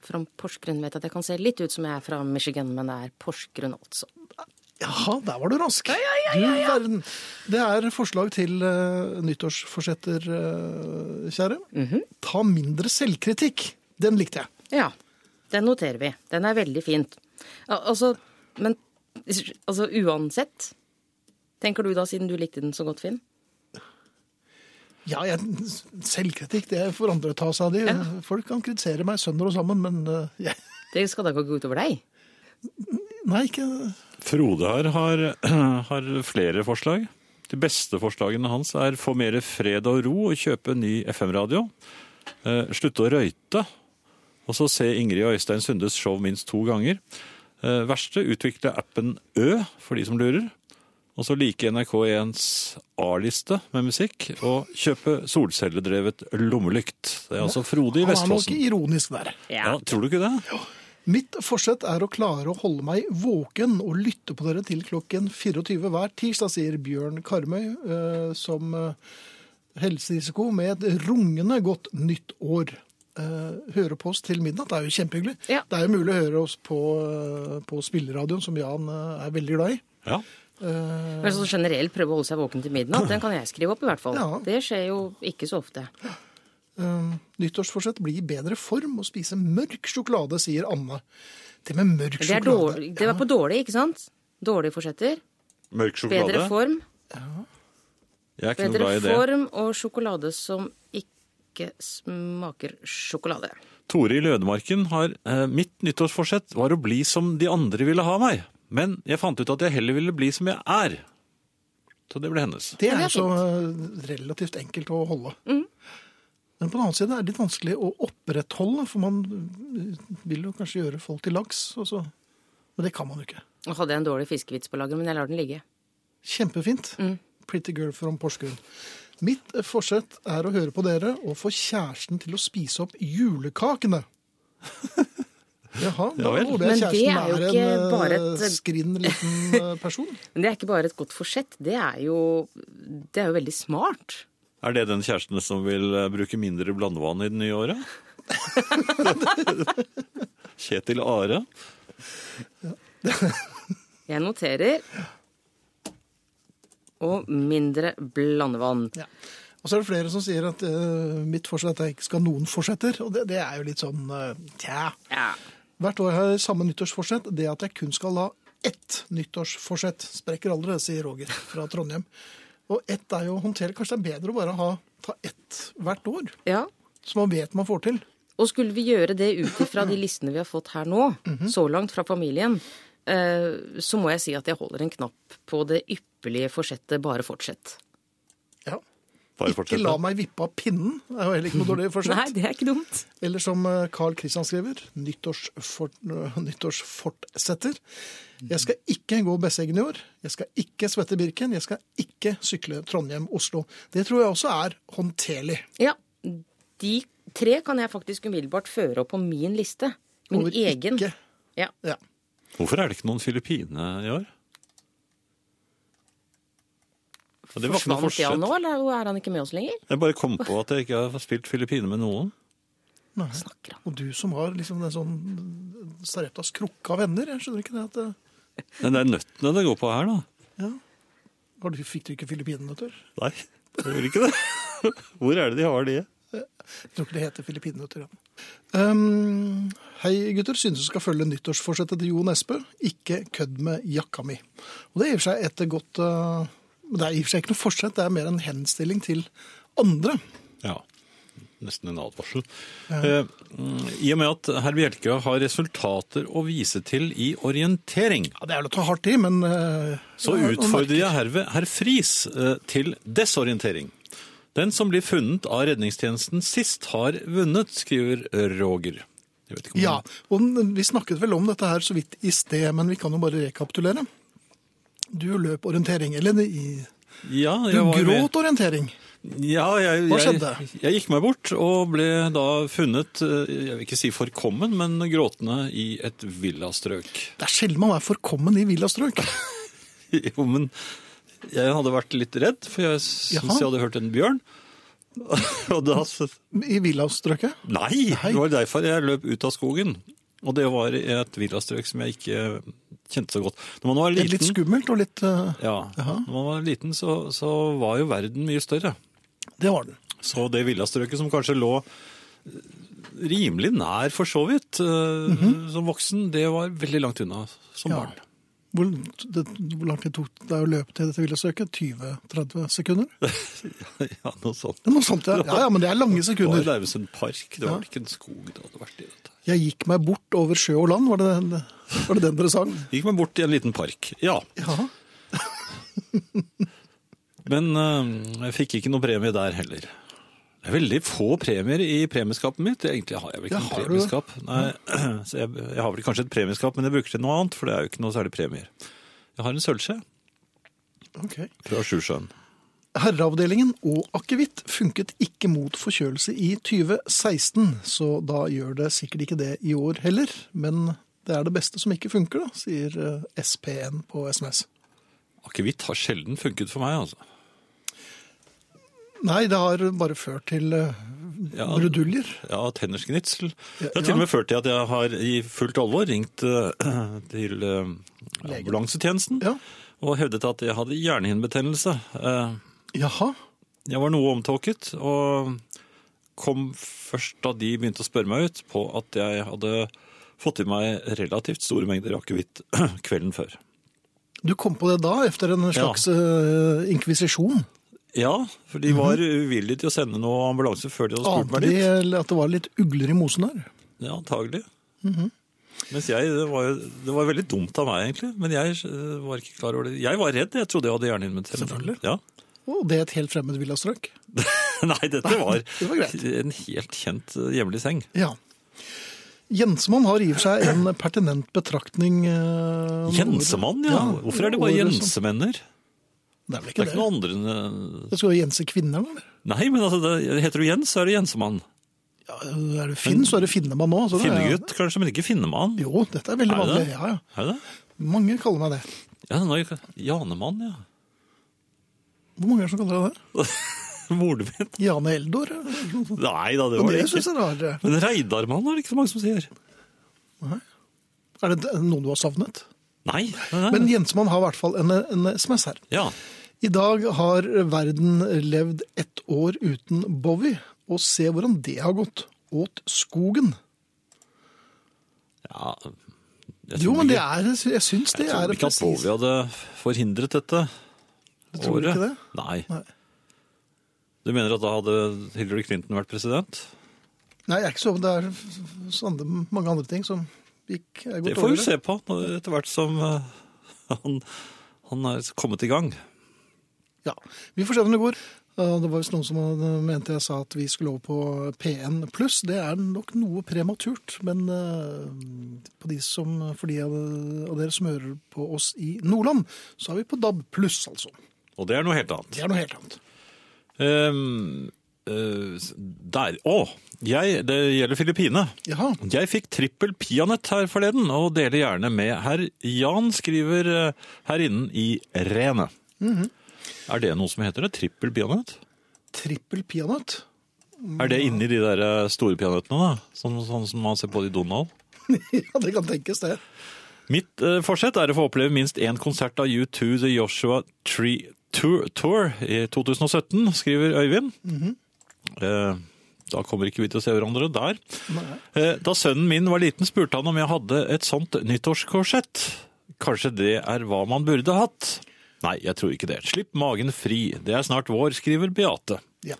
[SPEAKER 3] Fra Porsgrunn vet jeg at jeg kan se litt ut som jeg er fra Michigan, men det er Porsgrunn, altså.
[SPEAKER 1] Jaha, der var du rask. Du verden. Det er forslag til eh, nyttårsforsetter, eh, kjære. Ta mindre selvkritikk. Den likte jeg.
[SPEAKER 3] Ja. Den noterer vi. Den er veldig fint. Ja, altså, men altså uansett Tenker du da, siden du likte den så godt, Finn?
[SPEAKER 1] Ja, jeg, selvkritikk, det får andre ta seg av. De. Folk kan kritisere meg sønder og sammen, men eh, jeg,
[SPEAKER 3] Det skal da ikke gå utover deg?
[SPEAKER 1] Nei, ikke
[SPEAKER 2] Frode her har, *clears throat* har flere forslag. De beste forslagene hans er få mer fred og ro og kjøpe ny FM-radio. Eh, slutte å røyte. Og så se Ingrid og Øystein Sundes show minst to ganger. Eh, verste utvikle appen Ø, for de som lurer. Og så like NRK1s A-liste med musikk. Og kjøpe solcelledrevet lommelykt. Det er altså Frode i
[SPEAKER 1] Han er nok
[SPEAKER 2] Vestfossen.
[SPEAKER 1] ironisk der.
[SPEAKER 2] Ja, tror du ikke det?
[SPEAKER 1] Mitt forsett er å klare å holde meg våken og lytte på dere til klokken 24 hver tirsdag, sier Bjørn Karmøy, eh, som eh, helserisiko med et rungende godt nytt år. Eh, høre på oss til midnatt er jo kjempehyggelig.
[SPEAKER 3] Ja.
[SPEAKER 1] Det er jo mulig å høre oss på, eh, på spilleradioen, som Jan eh, er veldig glad i.
[SPEAKER 2] Ja.
[SPEAKER 1] Eh,
[SPEAKER 3] Men sånn generelt prøve å holde seg våken til midnatt, den kan jeg skrive opp i hvert fall.
[SPEAKER 1] Ja.
[SPEAKER 3] Det skjer jo ikke så ofte.
[SPEAKER 1] eh, nyttårsforsett bli i bedre form og spise mørk sjokolade, sier Anne. Det med mørk
[SPEAKER 3] Det, er
[SPEAKER 1] sjokolade
[SPEAKER 3] dårlig, det var på dårlig, ikke sant? Dårlige forsetter.
[SPEAKER 2] Mørk
[SPEAKER 3] Bedre
[SPEAKER 2] sjokolade.
[SPEAKER 3] form.
[SPEAKER 2] Jeg er ikke noe
[SPEAKER 3] Bedre
[SPEAKER 2] glad i det.
[SPEAKER 3] form og sjokolade som ikke smaker sjokolade.
[SPEAKER 2] Tore i Lødemarken har eh, Mitt nyttårsforsett var å bli som de andre ville ha meg. Men jeg fant ut at jeg heller ville bli som jeg er. Så det ble hennes.
[SPEAKER 1] Det
[SPEAKER 3] Ja,
[SPEAKER 1] er
[SPEAKER 3] det
[SPEAKER 1] jo
[SPEAKER 3] er Mm.
[SPEAKER 1] så eh, relativt enkelt å holde. Men på den annen side er det litt vanskelig å opprettholde, for man eh, vil jo kanskje gjøre folk til laks. Og så. Men det kan man jo ikke.
[SPEAKER 3] Nå hadde jeg en dårlig fiskevits på lager, men jeg lar den ligge.
[SPEAKER 1] Kjempefint.
[SPEAKER 3] Mm.
[SPEAKER 1] Pretty girl from Porsgrunn. Mitt eh, forsett er å høre på dere og få kjæresten til å spise opp
[SPEAKER 3] *laughs*
[SPEAKER 1] julekakene. Jaha, da
[SPEAKER 2] Ja vel.
[SPEAKER 1] håper
[SPEAKER 3] Men
[SPEAKER 1] jeg
[SPEAKER 3] det
[SPEAKER 1] kjæresten
[SPEAKER 3] er jo
[SPEAKER 1] er,
[SPEAKER 3] ikke
[SPEAKER 1] en
[SPEAKER 3] bare
[SPEAKER 1] eh,
[SPEAKER 3] et-
[SPEAKER 1] skrinn liten eh, person.
[SPEAKER 3] Men det er ikke bare et godt forsett, det er jo, det er jo veldig smart.
[SPEAKER 2] Er det den kjæresten som vil eh, bruke mindre blandevann i det nye *laughs* året? Kjetil Are.
[SPEAKER 3] Jeg noterer. Og mindre blandevann.
[SPEAKER 1] Ja. Og så er det flere som sier at eh, mitt forsett er at jeg ikke skal ha noen forsetter. Og det, det er jo litt sånn eh, tja.
[SPEAKER 3] Ja.
[SPEAKER 1] Hvert år har jeg samme nyttårsforsett. Det at jeg kun skal ha ett nyttårsforsett, sprekker aldri, sier Roger fra Trondheim. Og ett er jo å håndtere. Kanskje det er bedre å bare ha, ta ett hvert år,
[SPEAKER 3] Ja.
[SPEAKER 1] så man vet man får til.
[SPEAKER 3] Og skulle vi gjøre det ut ifra de listene vi har fått her nå,
[SPEAKER 2] Mhm.
[SPEAKER 3] så langt fra familien, eh, så må jeg si at jeg holder en knapp på det ypperlige forsettet 'bare fortsett'.
[SPEAKER 1] Ja.
[SPEAKER 2] Bare
[SPEAKER 1] Ikke
[SPEAKER 2] fortsett.
[SPEAKER 1] la meg vippe av pinnen. Det er jo heller ikke noe *laughs* dårlig forsett.
[SPEAKER 3] Nei, det er ikke dumt.
[SPEAKER 1] Eller som eh, Carl Christian skriver, nyttårsfort, eh, nyttårsfortsetter. Jeg skal ikke gå Besseggen i år. Jeg skal ikke svette Birken. Jeg skal ikke sykle Trondheim-Oslo. Det tror jeg også er håndterlig.
[SPEAKER 3] Ja, De tre kan jeg faktisk umiddelbart føre opp på min liste. Min
[SPEAKER 1] Over
[SPEAKER 3] egen.
[SPEAKER 1] Ikke.
[SPEAKER 3] Ja.
[SPEAKER 1] Ja.
[SPEAKER 2] Hvorfor er det ikke noen Filippine i år? Og det var ikke noe
[SPEAKER 3] Forsvant
[SPEAKER 2] forsett.
[SPEAKER 3] Jan nå, eller er han ikke med oss lenger?
[SPEAKER 2] Jeg bare kom på at jeg ikke har spilt Filippine med noen.
[SPEAKER 1] Nei.
[SPEAKER 3] Snakker han.
[SPEAKER 1] Og du som har liksom den sånn eh, Sareptas krukke av venner, jeg skjønner ikke det at eh,
[SPEAKER 2] Men det er nøttene det går på her, da.
[SPEAKER 1] ja. Har du, Fikk du ikke filippinenøtter?
[SPEAKER 2] Nei, det gjør ikke det. *laughs* Hvor er det de har de?
[SPEAKER 1] Jeg tror ikke det heter filippinenøtter. Ja. Um, hei gutter, synes du skal følge nyttårsforsettet til Jo Nesbø. Ikke kødd med jakka mi. Og det er i og for seg et godt uh, Det er i og for seg ikke noe forsett, det er mer en henstilling til andre.
[SPEAKER 2] Ja, nesten en advarsel. Eh, mm, I og med at herr Bjelke har resultater å vise til i orientering,
[SPEAKER 1] Ja, Det er vel å ta hardt i, men uh,
[SPEAKER 2] så
[SPEAKER 1] ja,
[SPEAKER 2] utfordrer jeg herved herr Friis eh, til desorientering. Den som blir funnet av redningstjenesten sist, har vunnet, skriver Roger. Jeg vet ikke om
[SPEAKER 1] Ja, og den- Vi snakket vel om dette her så vidt i sted, men vi kan jo bare rekapitulere. Du løp orientering, eller i,
[SPEAKER 2] ja
[SPEAKER 1] du
[SPEAKER 2] jeg var jo med.
[SPEAKER 1] gråt orientering.
[SPEAKER 2] Ja, jeg,
[SPEAKER 1] Hva
[SPEAKER 2] jeg,
[SPEAKER 1] skjedde?
[SPEAKER 2] jeg gikk meg bort og ble da funnet, eh, jeg vil ikke si forkommen, men gråtende i et villastrøk. *laughs*
[SPEAKER 1] Det er sjelden man er forkommen i villastrøk. *laughs*
[SPEAKER 2] Jo, men jeg hadde vært litt redd, for jeg
[SPEAKER 1] Jaha.
[SPEAKER 2] syns jeg hadde hørt en bjørn. *laughs* og da s-
[SPEAKER 1] I villastrøket?
[SPEAKER 2] Nei!
[SPEAKER 1] Nei.
[SPEAKER 2] Det var derfor jeg løp ut av skogen. Og det var i et villastrøk som jeg ikke kjente så godt. Når man var
[SPEAKER 1] Det er litt
[SPEAKER 2] liten,
[SPEAKER 1] skummelt og litt eh,
[SPEAKER 2] ja,
[SPEAKER 1] Jaha.
[SPEAKER 2] når man var liten så, så var jo verden mye større.
[SPEAKER 1] Det var den.
[SPEAKER 2] Så det villastrøket som kanskje lå eh, rimelig nær for så vidt eh, som voksen, det var veldig langt unna som barn.
[SPEAKER 1] Hvor, det, hvor lang tid tok det å løpe til dette villastrøket? 20-30 sekunder?
[SPEAKER 2] *laughs* ja, noe sånt.
[SPEAKER 1] Det er noe sånt, ja. ja. Ja, men det er lange
[SPEAKER 2] Det var
[SPEAKER 1] sekunder.
[SPEAKER 2] nærmest en park, det var ikke en skog det hadde vært i. dette.
[SPEAKER 1] Jeg gikk meg bort over sjø og land, var det den, var det den dere sang?
[SPEAKER 2] Gikk meg bort i en liten park, ja.
[SPEAKER 1] Ja.
[SPEAKER 2] Men eh, jeg fikk ikke noe premie der heller. Det er veldig få premier i premieskapet mitt. Egentlig har jeg vel ikke
[SPEAKER 1] Ja,
[SPEAKER 2] noe
[SPEAKER 1] har du det?
[SPEAKER 2] premieskap. Nei, *clears throat* så jeg, jeg har vel kanskje et premieskap, men jeg bruker til noe annet, for det er jo ikke noe særlig premier. Jeg har en sølvskje
[SPEAKER 1] Ok.
[SPEAKER 2] fra Sjusjøen.
[SPEAKER 1] Herreavdelingen og akevitt funket ikke mot forkjølelse i 2016, så da gjør det sikkert ikke det i år heller. Men det er det beste som ikke funker, da, sier eh, SPN på SMS.
[SPEAKER 2] Akevitt har sjelden funket for meg, altså.
[SPEAKER 1] Nei, det har bare ført til eh,
[SPEAKER 2] Ja.
[SPEAKER 1] bruduljer.
[SPEAKER 2] Ja, tennersgnitsel.
[SPEAKER 1] Ja,
[SPEAKER 2] Det har til
[SPEAKER 1] ja.
[SPEAKER 2] og med ført til at jeg har i fullt alvor ringt eh, til eh, ambulansetjenesten
[SPEAKER 1] Ja.
[SPEAKER 2] og hevdet at jeg hadde hjernehinnebetennelse. Eh,
[SPEAKER 1] Jaha.
[SPEAKER 2] Jeg var noe omtåket og kom først da de begynte å spørre meg ut på at jeg hadde fått i meg relativt store mengder akevitt *clears throat* kvelden før.
[SPEAKER 1] Du kom på det da, etter en slags eh, inkvisisjon?
[SPEAKER 2] Ja, for de var uvillige til å sende noe ambulanse før de hadde spurt
[SPEAKER 1] Ante
[SPEAKER 2] meg
[SPEAKER 1] de
[SPEAKER 2] dit.
[SPEAKER 1] at Mhm. det var litt ugler i mosen der?
[SPEAKER 2] Ja, antagelig. Mens jeg, det var, jo, det var veldig dumt av meg egentlig, men jeg eh, var ikke klar over det. Jeg var redd, jeg trodde jeg hadde hjernehinnebetennelse.
[SPEAKER 1] Selvfølgelig.
[SPEAKER 2] Ja. *laughs*
[SPEAKER 1] Og det er et helt fremmed villastrøk?
[SPEAKER 2] Nei, dette var,
[SPEAKER 1] det var greit.
[SPEAKER 2] en helt kjent eh, hjemlig seng.
[SPEAKER 1] Ja. Jensemann har i og for seg en pertinent betraktning eh, om
[SPEAKER 2] Jensemann, ja.
[SPEAKER 1] året.
[SPEAKER 2] Hvorfor er det bare
[SPEAKER 1] året som-
[SPEAKER 2] jensemenner?
[SPEAKER 1] Det er vel
[SPEAKER 2] Det
[SPEAKER 1] ikke
[SPEAKER 2] er
[SPEAKER 1] det.
[SPEAKER 2] ikke noe andre enn eh,
[SPEAKER 1] Det skal jo jense kvinner, da? eller?
[SPEAKER 2] Nei, men altså, det, heter du Jens, så er du Jensemann.
[SPEAKER 1] Ja, er du Finn, så er det Finnemann nå. så det er-
[SPEAKER 2] Finnegutt, kanskje, men ikke Finnemann.
[SPEAKER 1] Jo, dette er veldig
[SPEAKER 2] Er det
[SPEAKER 1] vanlig.
[SPEAKER 2] det?
[SPEAKER 1] Ja, ja.
[SPEAKER 2] Er det det?
[SPEAKER 1] Mange kaller meg det.
[SPEAKER 2] Ja, nå, er jeg- Janemann, ja. *laughs*
[SPEAKER 1] Hvor mange er det som kaller deg det?
[SPEAKER 2] Moren min.
[SPEAKER 1] Jane Eldor? eller noe sånt.
[SPEAKER 2] Nei da, det
[SPEAKER 1] Og
[SPEAKER 2] var
[SPEAKER 1] det
[SPEAKER 2] det
[SPEAKER 1] syns
[SPEAKER 2] ikke.
[SPEAKER 1] jeg er rart.
[SPEAKER 2] Men Reidarmann er det ikke så mange som sier.
[SPEAKER 1] Er det noen du har savnet?
[SPEAKER 2] Nei. nei, nei.
[SPEAKER 1] Men Jensemann har i hvert fall en, en SMS her.
[SPEAKER 2] ja.
[SPEAKER 1] I dag har verden levd ett år uten Bowie, og se hvordan det har gått. Åt skogen.
[SPEAKER 2] ja.
[SPEAKER 1] Jo, men det er, jeg syns det
[SPEAKER 2] Jeg
[SPEAKER 1] er
[SPEAKER 2] tror ikke at
[SPEAKER 1] presis.
[SPEAKER 2] Bowie hadde forhindret dette.
[SPEAKER 1] Du tror ikke det?
[SPEAKER 2] Nei.
[SPEAKER 1] Nei.
[SPEAKER 2] Du mener at da hadde Hillary Clinton vært president?
[SPEAKER 1] Nei, jeg er ikke så, det er sånne, mange andre ting som gikk er
[SPEAKER 2] Det
[SPEAKER 1] gått
[SPEAKER 2] får
[SPEAKER 1] over.
[SPEAKER 2] vi se på når- etter hvert som eh, *laughs* han, han er kommet i gang.
[SPEAKER 1] Ja, Vi får se hvordan det går. Eh, Det var visst noen som hadde- mente jeg sa at vi skulle over på P1 pluss. Det er nok noe prematurt, men eh, på de som, for de av av dere som hører på oss i Nordland, så er vi på DAB pluss, altså.
[SPEAKER 2] Og det er noe helt annet.
[SPEAKER 1] Det er noe helt annet.
[SPEAKER 2] Ehm, eh, der. Å! Jeg, det gjelder Filippine.
[SPEAKER 1] Jaha.
[SPEAKER 2] Jeg fikk trippel peanøtt her forleden, og deler gjerne med herr Jan, skriver eh, her inne i Rene. Er det noe som heter det? Trippel peanøtt?
[SPEAKER 1] Trippel peanøtt.
[SPEAKER 2] Er det inni de der eh, store peanøttene, da? Sånn, sånn som man ser på i Donald?
[SPEAKER 1] *laughs* ja, det kan tenkes, det.
[SPEAKER 2] Mitt eh, forsett er å få oppleve minst én konsert av U2 The Joshua Tree Tour, Tour i 2017, skriver Øyvind. Eh, da kommer ikke vi til å se hverandre der.
[SPEAKER 1] Nei.
[SPEAKER 2] Eh, da sønnen min var liten, spurte han om jeg hadde et sånt nyttårskorsett. Kanskje det er hva man burde hatt? Nei, jeg tror ikke det. Slipp magen fri, det er snart vår, skriver Beate.
[SPEAKER 1] Ja.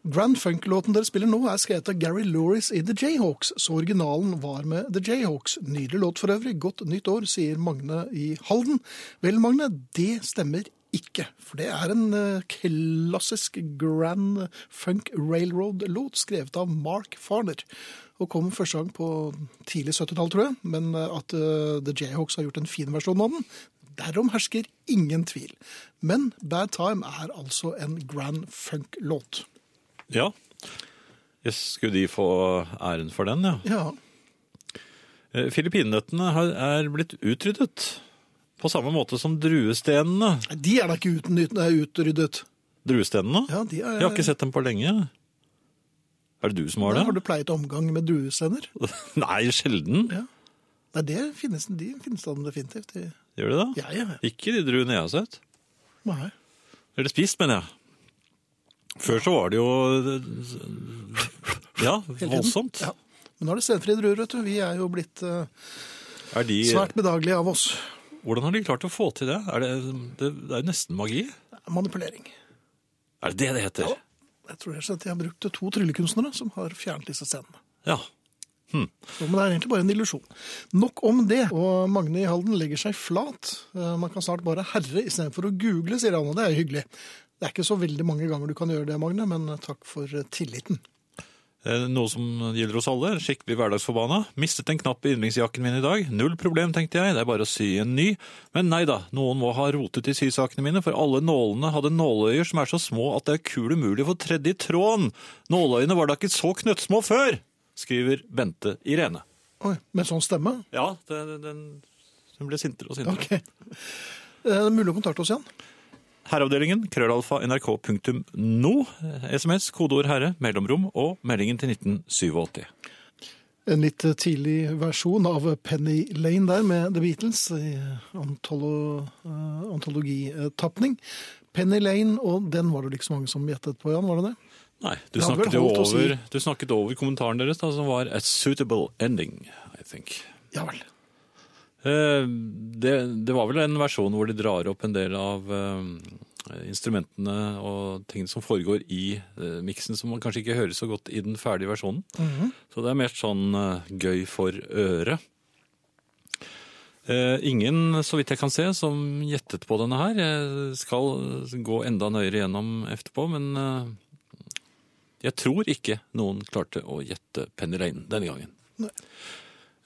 [SPEAKER 1] Grand Funk-låten dere spiller nå, er skrevet av Gary Lauris i The Jayhawks, så originalen var med The Jayhawks. Nydelig låt for øvrig. Godt nytt år, sier Magne i Halden. Vel, Magne, det stemmer ikke. For det er en eh, klassisk Grand Funk Railroad-låt skrevet av Mark Farner. Og kom første gang på tidlig 70-tall, tror jeg. Men eh, at eh, The Jayhawks har gjort en fin versjon av den, Derom hersker ingen tvil. Men Bad Time er altså en grand funk-låt.
[SPEAKER 2] Ja, yes, skulle de få æren for den, ja.
[SPEAKER 1] Ja,
[SPEAKER 2] Eh, Filippinøttene har- er blitt utryddet. På samme måte som druestenene.
[SPEAKER 1] De er da ikke uten, nei, utryddet.
[SPEAKER 2] Druestenene?
[SPEAKER 1] Ja, de er,
[SPEAKER 2] Jeg har ikke sett dem på lenge. Er det du som har
[SPEAKER 1] Nei, Har
[SPEAKER 2] det?
[SPEAKER 1] du pleiet omgang med druesender?
[SPEAKER 2] *laughs* Nei, sjelden.
[SPEAKER 1] Ja. Nei, det finnes, de finnes da definitivt. De,
[SPEAKER 2] Gjør det det?
[SPEAKER 1] ja, ja, ja.
[SPEAKER 2] Ikke de druene jeg har sett.
[SPEAKER 1] Nei.
[SPEAKER 2] Eller spist, mener jeg. Før så var det jo Ja,
[SPEAKER 1] *laughs* Hele tiden.
[SPEAKER 2] voldsomt.
[SPEAKER 1] Ja. Men nå er det stenfrie druer, vet du. Vi er jo blitt eh,
[SPEAKER 2] Er de,
[SPEAKER 1] svært bedagelige av oss.
[SPEAKER 2] hvordan har de klart å få til det? Er det, det, det er jo nesten magi.
[SPEAKER 1] Manipulering.
[SPEAKER 2] Er det det det heter?
[SPEAKER 1] Jeg tror jeg at de har brukt to tryllekunstnere som har fjernet disse scenene.
[SPEAKER 2] Ja.
[SPEAKER 1] Jo, Men det er egentlig bare en illusjon. Nok om det. Og Magne i Halden legger seg flat. Eh, Man kan snart bare herre istedenfor å google, sier han. Og det er jo hyggelig. Det er ikke så veldig mange ganger du kan gjøre det, Magne, men takk for eh, tilliten.
[SPEAKER 2] Eh, Noe som gjelder oss alle, skikkelig hverdagsforbanna. Mistet en knapp i yndlingsjakken min i dag. Null problem, tenkte jeg, det er bare å sy en ny. Men nei da, noen må ha rotet i sysakene mine, for alle nålene hadde nåløyer som er så små at det er kul umulig å få tredje i tråden. Nåløyene var da ikke så knøttsmå før, skriver Bente Irene.
[SPEAKER 1] Oi, med sånn stemme? *laughs*
[SPEAKER 2] Ja, det, det- den, hun ble sintere og sintere.
[SPEAKER 1] OK. Eh, Det er mulig å kontakte oss igjen.
[SPEAKER 2] Herreavdelingen, krøllalfa, nrk.no, sms, kodeord herre, mellomrom og meldingen til 1987.
[SPEAKER 1] En litt eh, tidlig versjon av Penny Lane der med The Beatles i eh, antolo, eh, antologitapning. Penny Lane, og den var det ikke så mange som gjettet på, Jan, var det det?
[SPEAKER 2] Nei, du
[SPEAKER 1] Det hadde
[SPEAKER 2] snakket,
[SPEAKER 1] vel
[SPEAKER 2] jo
[SPEAKER 1] holdt å si.
[SPEAKER 2] over, du snakket over kommentaren deres, da, som var 'a suitable ending', I think.
[SPEAKER 1] Ja vel.
[SPEAKER 2] Eh, Det, det var vel en versjon hvor de drar opp en del av eh, instrumentene og tingene som foregår i eh, miksen, som man kanskje ikke hører så godt i den ferdige versjonen.
[SPEAKER 1] Mhm.
[SPEAKER 2] Så det er mer sånn eh, gøy for øret. Eh, Ingen, så vidt jeg kan se, som gjettet på denne her. Jeg skal gå enda nøyere gjennom etterpå, men eh, jeg tror ikke noen klarte å gjette Penny Lane denne gangen.
[SPEAKER 1] Nei.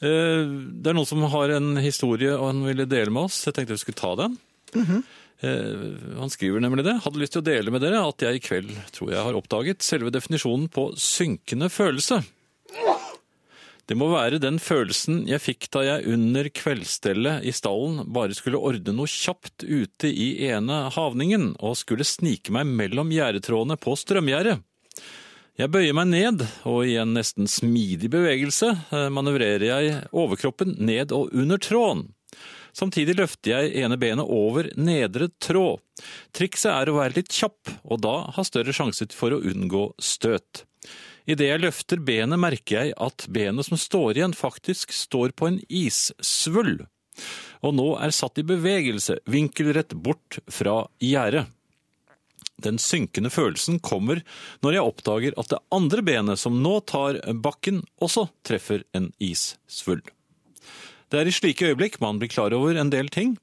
[SPEAKER 2] Eh, Det er noen som har en historie og han ville dele med oss. Jeg tenkte vi skulle ta den. Eh, Han skriver nemlig det. Hadde lyst til å dele med dere at jeg i kveld tror jeg har oppdaget selve definisjonen på synkende følelse. Det må være den følelsen jeg fikk da jeg under kveldsstellet i stallen bare skulle ordne noe kjapt ute i ene havningen og skulle snike meg mellom gjerdetrådene på strømgjerdet. Jeg bøyer meg ned, og i en nesten smidig bevegelse eh, manøvrerer jeg overkroppen ned og under tråden. Samtidig løfter jeg ene benet over nedre tråd. Trikset er å være litt kjapp, og da ha større sjanse for å unngå støt. Idet jeg løfter benet, merker jeg at benet som står igjen, faktisk står på en issvull. og nå er satt i bevegelse, vinkelrett bort fra gjerdet. Den synkende følelsen kommer når jeg oppdager at det andre benet som nå tar bakken, også treffer en issvulm. Det er i slike øyeblikk man blir klar over en del ting.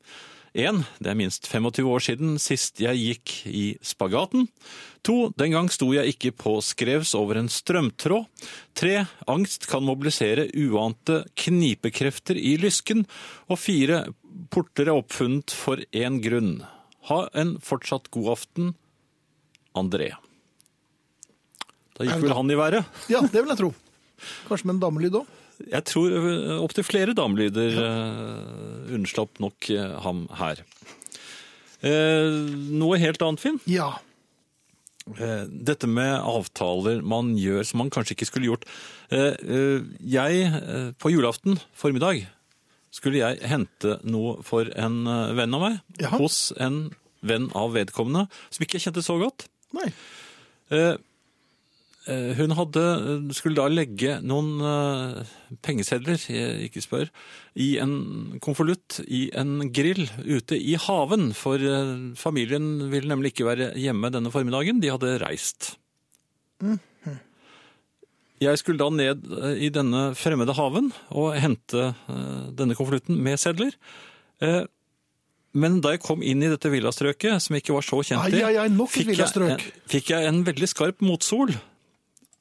[SPEAKER 2] En, Det er minst 25 år siden sist jeg gikk i spagaten. To, Den gang sto jeg ikke på skrevs over en strømtråd. Tre, Angst kan mobilisere uante knipekrefter i lysken. Og fire, Porter er oppfunnet for én grunn. Ha en fortsatt god aften, André. Da gikk vel han i været?
[SPEAKER 1] Ja, det vil jeg tro. Kanskje med en damelyd òg.
[SPEAKER 2] Jeg tror opptil flere damelyder eh, unnslapp nok eh, ham her. Eh, noe helt annet, Finn.
[SPEAKER 1] Ja.
[SPEAKER 2] Eh, dette med avtaler man gjør som man kanskje ikke skulle gjort. Eh, eh, jeg, eh, på julaften formiddag, skulle jeg hente noe for en eh, venn av meg.
[SPEAKER 1] Jaha.
[SPEAKER 2] Hos en venn av vedkommende som ikke jeg kjente så godt.
[SPEAKER 1] Nei.
[SPEAKER 2] Eh, eh, Hun hadde, skulle da legge noen eh, pengesedler, jeg ikke spør, i en konvolutt i en grill ute i haven, for eh, familien ville nemlig ikke være hjemme denne formiddagen, de hadde reist. Jeg skulle da ned eh, i denne fremmede haven og hente eh, denne konvolutten med sedler. Eh, Men da jeg kom inn i dette villastrøket, som jeg ikke var så kjent
[SPEAKER 1] Ai, ai, ai, nok et
[SPEAKER 2] fikk jeg
[SPEAKER 1] villastrøk.
[SPEAKER 2] en- fikk jeg en veldig skarp motsol.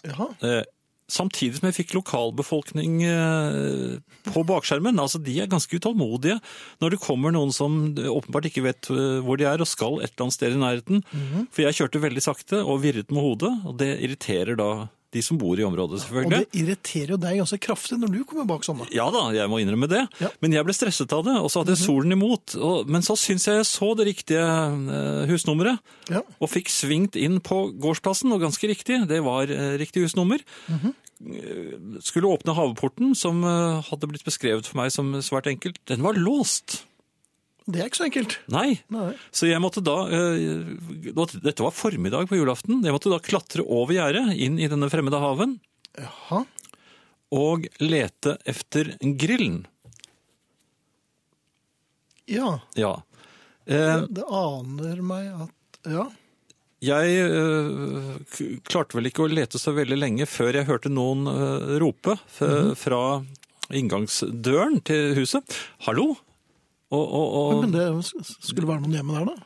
[SPEAKER 1] Jaha.
[SPEAKER 2] Eh, samtidig som jeg fikk lokalbefolkning eh, på bakskjermen. Altså, De er ganske utålmodige når det kommer noen som åpenbart ikke vet eh, hvor de er, og skal et eller annet sted i nærheten.
[SPEAKER 1] Mhm.
[SPEAKER 2] For jeg kjørte veldig sakte og virret med hodet, og det irriterer da de som bor i området,
[SPEAKER 1] Og
[SPEAKER 2] selvfølgelig.
[SPEAKER 1] det irriterer jo deg ganske kraftig når du kommer bak sånne.
[SPEAKER 2] Ja da, jeg må innrømme det.
[SPEAKER 1] Ja. Mhm.
[SPEAKER 2] Men jeg ble stresset av det, og så hadde jeg solen imot. Og, men så syns jeg jeg så det riktige eh, husnummeret,
[SPEAKER 1] Ja.
[SPEAKER 2] og fikk svingt inn på gårdsplassen, og ganske riktig, det var eh, riktig husnummer. Eh, Skulle åpne haveporten, som eh, hadde blitt beskrevet for meg som svært enkelt. Den var låst!
[SPEAKER 1] Det er ikke så enkelt.
[SPEAKER 2] Nei!
[SPEAKER 1] Nei.
[SPEAKER 2] Så jeg måtte da eh, da- Dette var formiddag på julaften. Jeg måtte da klatre over gjerdet, inn i denne fremmede haven,
[SPEAKER 1] Jaha.
[SPEAKER 2] og lete efter grillen.
[SPEAKER 1] Ja.
[SPEAKER 2] Ja. Eh,
[SPEAKER 1] Det aner meg at Ja.
[SPEAKER 2] Jeg eh, k- klarte vel ikke å lete så veldig lenge før jeg hørte noen eh, rope f- fra inngangsdøren til huset. Hallo? Og, og, og,
[SPEAKER 1] Men det skulle være noen hjemme der, da?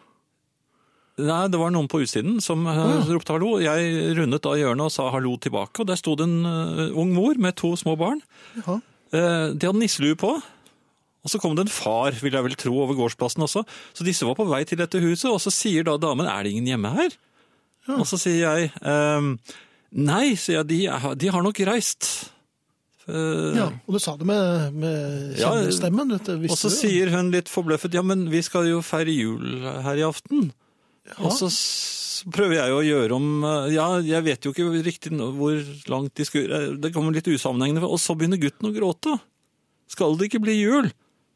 [SPEAKER 2] nei, det var noen på utsiden som eh, ropte hallo. Jeg rundet da hjørnet og sa hallo tilbake, og der sto det en eh, ung mor med to små barn.
[SPEAKER 1] Jaha.
[SPEAKER 2] Eh, de hadde nisselue på. Og så kom det en far, vil jeg vel tro, over gårdsplassen også. Så disse var på vei til dette huset, og så sier da damen, er det ingen hjemme her? Og så sier jeg, ehm, nei, sier jeg, de, er- de har nok reist. Eh,
[SPEAKER 1] Ja, og du sa det med, med
[SPEAKER 2] Ja,
[SPEAKER 1] kjennestemmen. dette visste
[SPEAKER 2] og så
[SPEAKER 1] du.
[SPEAKER 2] sier hun litt forbløffet, ja, men vi skal jo feire jul her i aften. Og så s- prøver jeg å gjøre om, eh, ja, jeg vet jo ikke riktig nå hvor langt de skulle, eh, det kommer litt usammenhengende, og så begynner gutten å gråte. Skal det ikke bli jul?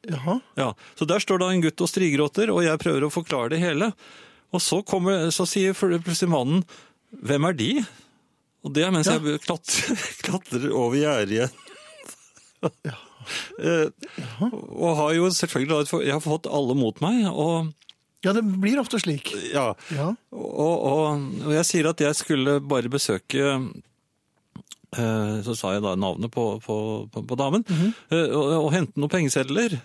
[SPEAKER 1] Jaha.
[SPEAKER 2] Ja, så der står da en gutt og strigråter, og jeg prøver å forklare det hele. Og så, kommer, så sier plutselig mannen, hvem er de? Og det er mens jeg klatrer, *laughs* klatrer over gjerdet igjen. Eh, og har jo selvfølgelig da et for- Jeg har fått alle mot meg, og
[SPEAKER 1] Ja, det blir ofte slik.
[SPEAKER 2] ja.
[SPEAKER 1] Ja.
[SPEAKER 2] Og, og, og jeg sier at jeg skulle bare besøke eh, Så sa jeg da navnet på, på, på, på damen. eh, og, og hente noen pengesedler.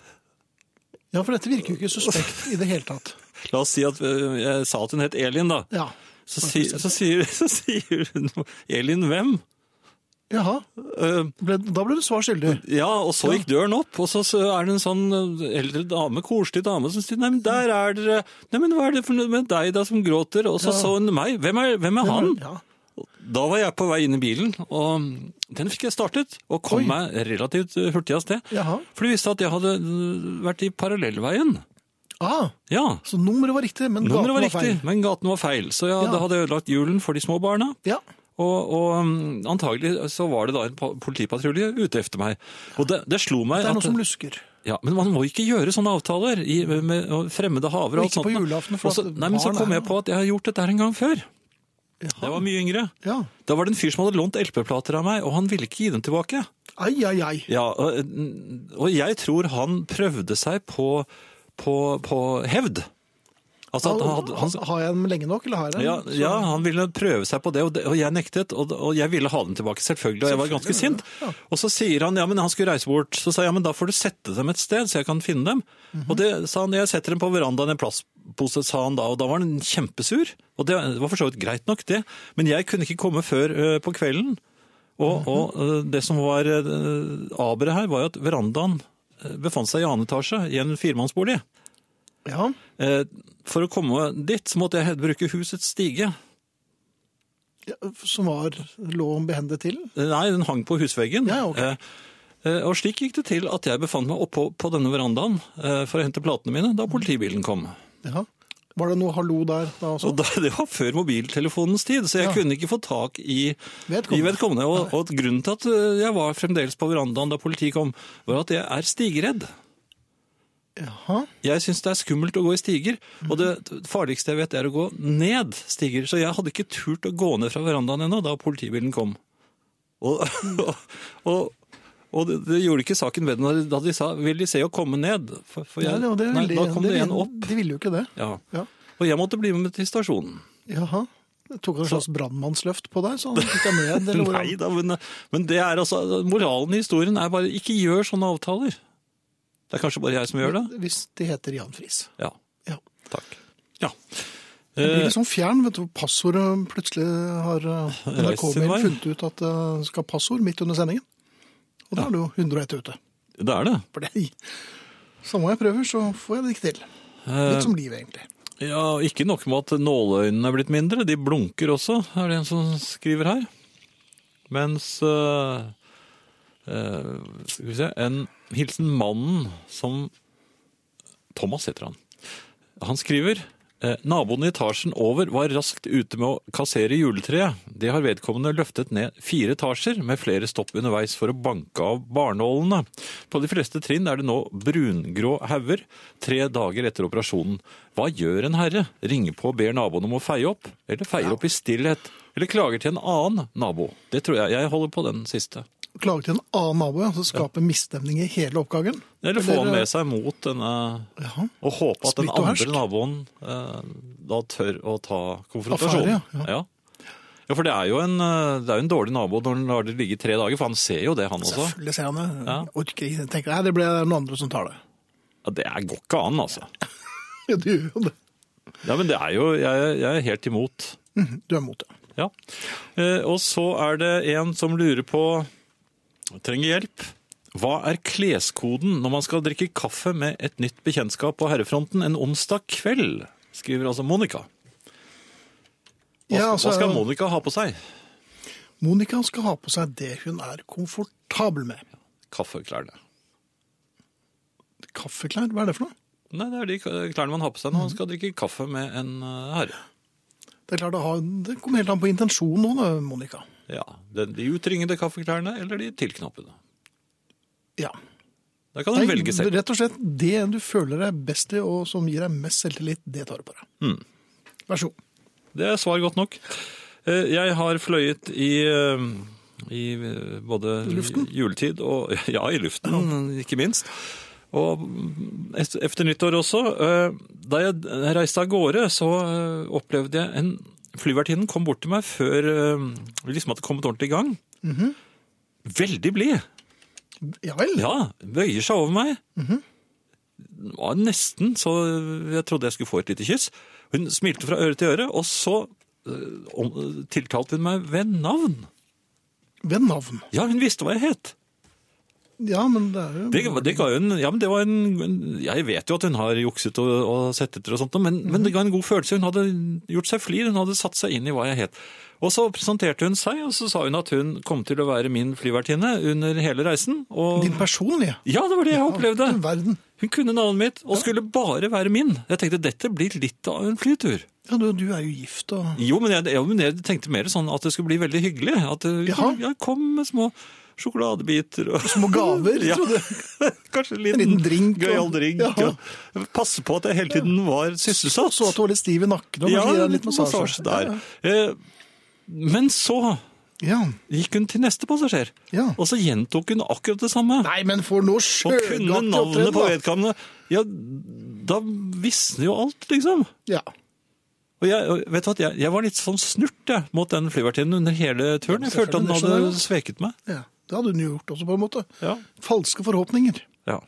[SPEAKER 1] ja, for dette virker jo ikke suspekt i det hele tatt.
[SPEAKER 2] La oss si at eh, jeg sa at hun het Elin, da.
[SPEAKER 1] Ja.
[SPEAKER 2] Så, si, så, sier, *laughs* så sier hun Elin hvem?
[SPEAKER 1] Jaha.
[SPEAKER 2] Eh,
[SPEAKER 1] Ble, da ble du svar skyldig.
[SPEAKER 2] ja, og så gikk døren opp, og så, så er det en sånn eh, eldre dame, koselig dame, som sier nei, men der er dere, nei, men hva er det for noe med deg da som gråter? Og så
[SPEAKER 1] Ja.
[SPEAKER 2] så hun meg, hvem er, hvem er han?
[SPEAKER 1] Ja.
[SPEAKER 2] Da var jeg på vei inn i bilen, og den fikk jeg startet, og kom
[SPEAKER 1] Oi.
[SPEAKER 2] meg relativt eh, hurtig av sted.
[SPEAKER 1] Jaha.
[SPEAKER 2] For det viste at jeg hadde eh, vært i parallellveien.
[SPEAKER 1] Ah,
[SPEAKER 2] Ja,
[SPEAKER 1] så nummeret var riktig, men
[SPEAKER 2] nummeret
[SPEAKER 1] gaten
[SPEAKER 2] var
[SPEAKER 1] var
[SPEAKER 2] riktig,
[SPEAKER 1] feil.
[SPEAKER 2] men gaten var feil. Så ja,
[SPEAKER 1] Ja.
[SPEAKER 2] da hadde jeg ødelagt julen for de små barna.
[SPEAKER 1] Ja.
[SPEAKER 2] Og, og um, antagelig så var det da en pa- politipatrulje ute efter meg. Og det, det slo meg
[SPEAKER 1] Det er noen
[SPEAKER 2] at
[SPEAKER 1] som lusker.
[SPEAKER 2] ja, Men man må ikke gjøre sånne avtaler i, med, med fremmede haver.
[SPEAKER 1] Og
[SPEAKER 2] og alt
[SPEAKER 1] ikke på
[SPEAKER 2] sånt.
[SPEAKER 1] julaften, for
[SPEAKER 2] Og så-
[SPEAKER 1] at
[SPEAKER 2] Nei, men så
[SPEAKER 1] barn
[SPEAKER 2] kom
[SPEAKER 1] er-
[SPEAKER 2] jeg på at jeg har gjort dette her en gang før. Jeg var mye yngre.
[SPEAKER 1] Ja.
[SPEAKER 2] Da var det en fyr som hadde lånt LP-plater av meg, og han ville ikke gi dem tilbake.
[SPEAKER 1] Ai, ai, ai.
[SPEAKER 2] Ja, og, mm, og jeg tror han prøvde seg på, på, på hevd. Altså, at han, hadde- han,
[SPEAKER 1] har jeg dem lenge nok, eller har jeg dem?
[SPEAKER 2] ja,
[SPEAKER 1] Så-
[SPEAKER 2] ja, han ville prøve seg på det, og, det, og jeg nektet. Og, og jeg ville ha dem tilbake, selvfølgelig, og jeg var ganske sint. Og så sier han ja, men han skulle reise bort. Så sa jeg ja, men da får du sette dem et sted, så jeg kan finne dem. Og det sa han, jeg setter dem på verandaen i en plastpose, sa han da. Og da var han kjempesur. Og det var for så vidt greit nok, det. Men jeg kunne ikke komme før ø, på kvelden. Og, og ø, det som var ø, aberet her, var jo at verandaen ø, befant seg i annen etasje i en firemannsbolig.
[SPEAKER 1] ja.
[SPEAKER 2] Eh, For å komme dit så måtte jeg bruke husets stige.
[SPEAKER 1] Ja, Som var lå behendet til?
[SPEAKER 2] Nei, den hang på husveggen.
[SPEAKER 1] Ja, ok.
[SPEAKER 2] Eh, eh, Og slik gikk det til at jeg befant meg oppå på denne verandaen eh, for å hente platene mine da politibilen kom.
[SPEAKER 1] Ja. Var det noe hallo der da sånn? også?
[SPEAKER 2] Og da, Det var før mobiltelefonens tid, så jeg kunne ikke få tak i
[SPEAKER 1] Vedkommende.
[SPEAKER 2] vedkommende. I vedkommende. Og, og grunnen til at eh, jeg var fremdeles på verandaen da politiet kom, var at jeg er stigredd.
[SPEAKER 1] Jaha.
[SPEAKER 2] Jeg syns det er skummelt å gå i stiger,
[SPEAKER 1] Mhm.
[SPEAKER 2] og det farligste jeg vet er å gå ned stiger. Så jeg hadde ikke turt å gå ned fra verandaen ennå da politibilen kom. *laughs* Og,
[SPEAKER 1] Mhm.
[SPEAKER 2] og, og det, det gjorde ikke saken bedre når- da de sa 'vil de se å komme ned'? For, for jeg,
[SPEAKER 1] Nei, det var det
[SPEAKER 2] nei,
[SPEAKER 1] ville-
[SPEAKER 2] da kom det
[SPEAKER 1] ville-
[SPEAKER 2] en opp.
[SPEAKER 1] De ville jo ikke det.
[SPEAKER 2] Ja.
[SPEAKER 1] Ja.
[SPEAKER 2] Og jeg måtte bli med til stasjonen.
[SPEAKER 1] Jaha. Tok han et slags brannmannsløft på deg, så han fikk deg
[SPEAKER 2] *laughs*
[SPEAKER 1] ned? Eller hvordan?
[SPEAKER 2] Nei da, men, men det er altså, moralen i historien er bare ikke gjør sånne avtaler. Det er kanskje bare jeg som gjør det?
[SPEAKER 1] Hvis de heter Jan Friis.
[SPEAKER 2] Ja.
[SPEAKER 1] Ja.
[SPEAKER 2] Takk. Ja.
[SPEAKER 1] Det blir
[SPEAKER 2] Eh,
[SPEAKER 1] litt sånn fjern, vet du. Passordet plutselig har eh,
[SPEAKER 2] Reist sin
[SPEAKER 1] NRK-mail
[SPEAKER 2] vei.
[SPEAKER 1] funnet ut at det skal ha passord midt under sendingen. Og da er det jo 101 ute.
[SPEAKER 2] det er det.
[SPEAKER 1] For det Samme jeg prøver, så får jeg det ikke til.
[SPEAKER 2] Eh,
[SPEAKER 1] Litt som livet, egentlig.
[SPEAKER 2] Ja, ikke nok med at nåløynene er blitt mindre, de blunker også, er det en som skriver her. Mens øh, øh, Skal vi se En hilsen mannen som Thomas heter han. Han skriver eh, Naboen i etasjen over var raskt ute med å kassere juletreet. Det har vedkommende løftet ned fire etasjer, med flere stopp underveis for å banke av barnålene. På de fleste trinn er det nå brungrå hauger, tre dager etter operasjonen. Hva gjør en herre? Ringer på og ber naboen om å feie opp? Eller feier opp i stillhet? Eller klager til en annen nabo? Det tror jeg. Jeg holder på den siste.
[SPEAKER 1] Klage til en annen nabo, ja, så skape misstemning i hele oppgangen.
[SPEAKER 2] Eller få han med seg mot denne
[SPEAKER 1] Ja.
[SPEAKER 2] Og håpe at den
[SPEAKER 1] Splitt og hersk.
[SPEAKER 2] andre naboen eh, da tør å ta
[SPEAKER 1] Affære,
[SPEAKER 2] konfrontasjonen.
[SPEAKER 1] ja.
[SPEAKER 2] ja. Ja, for det er jo en, eh, det er jo en dårlig nabo når den lar det ligge i tre dager, for han ser jo det, han også.
[SPEAKER 1] Selvfølgelig ser han det.
[SPEAKER 2] Ja.
[SPEAKER 1] Orker ikke. Tenker nei, det ble noen andre som tar det. *laughs*
[SPEAKER 2] Ja, det er- går ikke an, altså.
[SPEAKER 1] Ja, du, gjør jo det.
[SPEAKER 2] Ja, men det er jo Jeg, jeg er helt imot.
[SPEAKER 1] Mhm, du er mot det.
[SPEAKER 2] Ja. Eh, og så er det en som lurer på Trenger hjelp. Hva er kleskoden når man skal drikke kaffe med et nytt bekjentskap på herrefronten en onsdag kveld? Skriver altså Monica. Hva,
[SPEAKER 1] Ja, altså,
[SPEAKER 2] hva skal Monica ha på seg?
[SPEAKER 1] Monica skal ha på seg det hun er komfortabel med.
[SPEAKER 2] Kaffeklærne.
[SPEAKER 1] Kaffeklær, hva er det for noe?
[SPEAKER 2] Nei, det er de klærne man har på seg når man skal drikke kaffe med en eh, herre.
[SPEAKER 1] Det er klart, det har- det kommer helt an på intensjonen nå, da, Monica.
[SPEAKER 2] Ja, den- De utringede kaffeklærne eller de tilknappede.
[SPEAKER 1] Ja.
[SPEAKER 2] Der kan du
[SPEAKER 1] Nei,
[SPEAKER 2] velge selv.
[SPEAKER 1] Rett og slett det du føler deg best i, og som gir deg mest selvtillit, det tar du på deg.
[SPEAKER 2] Mm.
[SPEAKER 1] Vær så god.
[SPEAKER 2] Det er svar godt nok. Eh, Jeg har fløyet i, eh, i eh, både
[SPEAKER 1] Luften?
[SPEAKER 2] juletid og *laughs* Ja, i luften, ikke minst. Og et- efter nyttår også. eh, Da jeg reiste av gårde, så eh, opplevde jeg en Flyvertinnen kom bort til meg før eh, vi liksom hadde kommet ordentlig i gang.
[SPEAKER 1] Mhm.
[SPEAKER 2] Veldig blid.
[SPEAKER 1] Ja vel?
[SPEAKER 2] Ja, bøyer seg over meg. Det var nesten så jeg trodde jeg skulle få et lite kyss. Hun smilte fra øre til øre, og så øh, om- tiltalte hun meg ved navn.
[SPEAKER 1] Ved navn.
[SPEAKER 2] Ja, hun visste hva jeg het.
[SPEAKER 1] Ja, men det er jo
[SPEAKER 2] Det, det ga jo en, ja, men det var en, en- jeg vet jo at hun har jukset og, og sett etter og sånt, men, men det ga en god følelse. Hun hadde gjort seg flir, hun hadde satt seg inn i hva jeg het. Og så presenterte hun seg, og så sa hun at hun kom til å være min flyvertinne under hele reisen. Og,
[SPEAKER 1] din personlige.
[SPEAKER 2] ja, det var det jeg opplevde.
[SPEAKER 1] Du verden.
[SPEAKER 2] Hun kunne navnet mitt, og skulle bare være min. Jeg tenkte, dette blir litt av en flytur.
[SPEAKER 1] Ja, du, du er jo gift og
[SPEAKER 2] Jo, men jeg, jo, men jeg tenkte mer sånn at det skulle bli veldig hyggelig. At det
[SPEAKER 1] Jaha.
[SPEAKER 2] ja, kom med små sjokoladebiter. Og...
[SPEAKER 1] Små gaver,
[SPEAKER 2] *laughs* Ja.
[SPEAKER 1] trodde
[SPEAKER 2] Kanskje en
[SPEAKER 1] En
[SPEAKER 2] liten,
[SPEAKER 1] liten drink,
[SPEAKER 2] gøyal
[SPEAKER 1] og-
[SPEAKER 2] drink.
[SPEAKER 1] Ja.
[SPEAKER 2] Og... Passe på at jeg hele tiden var sysselsatt.
[SPEAKER 1] Så at du var litt stiv i nakken og
[SPEAKER 2] Ja,
[SPEAKER 1] kanskje gir deg
[SPEAKER 2] litt massasje der.
[SPEAKER 1] Ja, ja.
[SPEAKER 2] Eh, Men så
[SPEAKER 1] Ja.
[SPEAKER 2] gikk hun til neste passasjer,
[SPEAKER 1] Ja.
[SPEAKER 2] og så gjentok hun akkurat det samme.
[SPEAKER 1] Nei, men for noe
[SPEAKER 2] Og kunne
[SPEAKER 1] sjøglatt
[SPEAKER 2] navnet på
[SPEAKER 1] opptreden, da!
[SPEAKER 2] vedkommende. Ja, da visner jo alt, liksom.
[SPEAKER 1] Ja.
[SPEAKER 2] Og jeg, og vet du hva, jeg, jeg var litt sånn snurt jeg, mot den flyvertinnen under hele turen.
[SPEAKER 1] Ja,
[SPEAKER 2] Jeg følte at den
[SPEAKER 1] selvfølgelig, det
[SPEAKER 2] hadde
[SPEAKER 1] skjønner
[SPEAKER 2] sveket meg.
[SPEAKER 1] ja. Det hadde hun jo gjort også, på en måte.
[SPEAKER 2] Ja.
[SPEAKER 1] Falske forhåpninger.
[SPEAKER 2] Ja.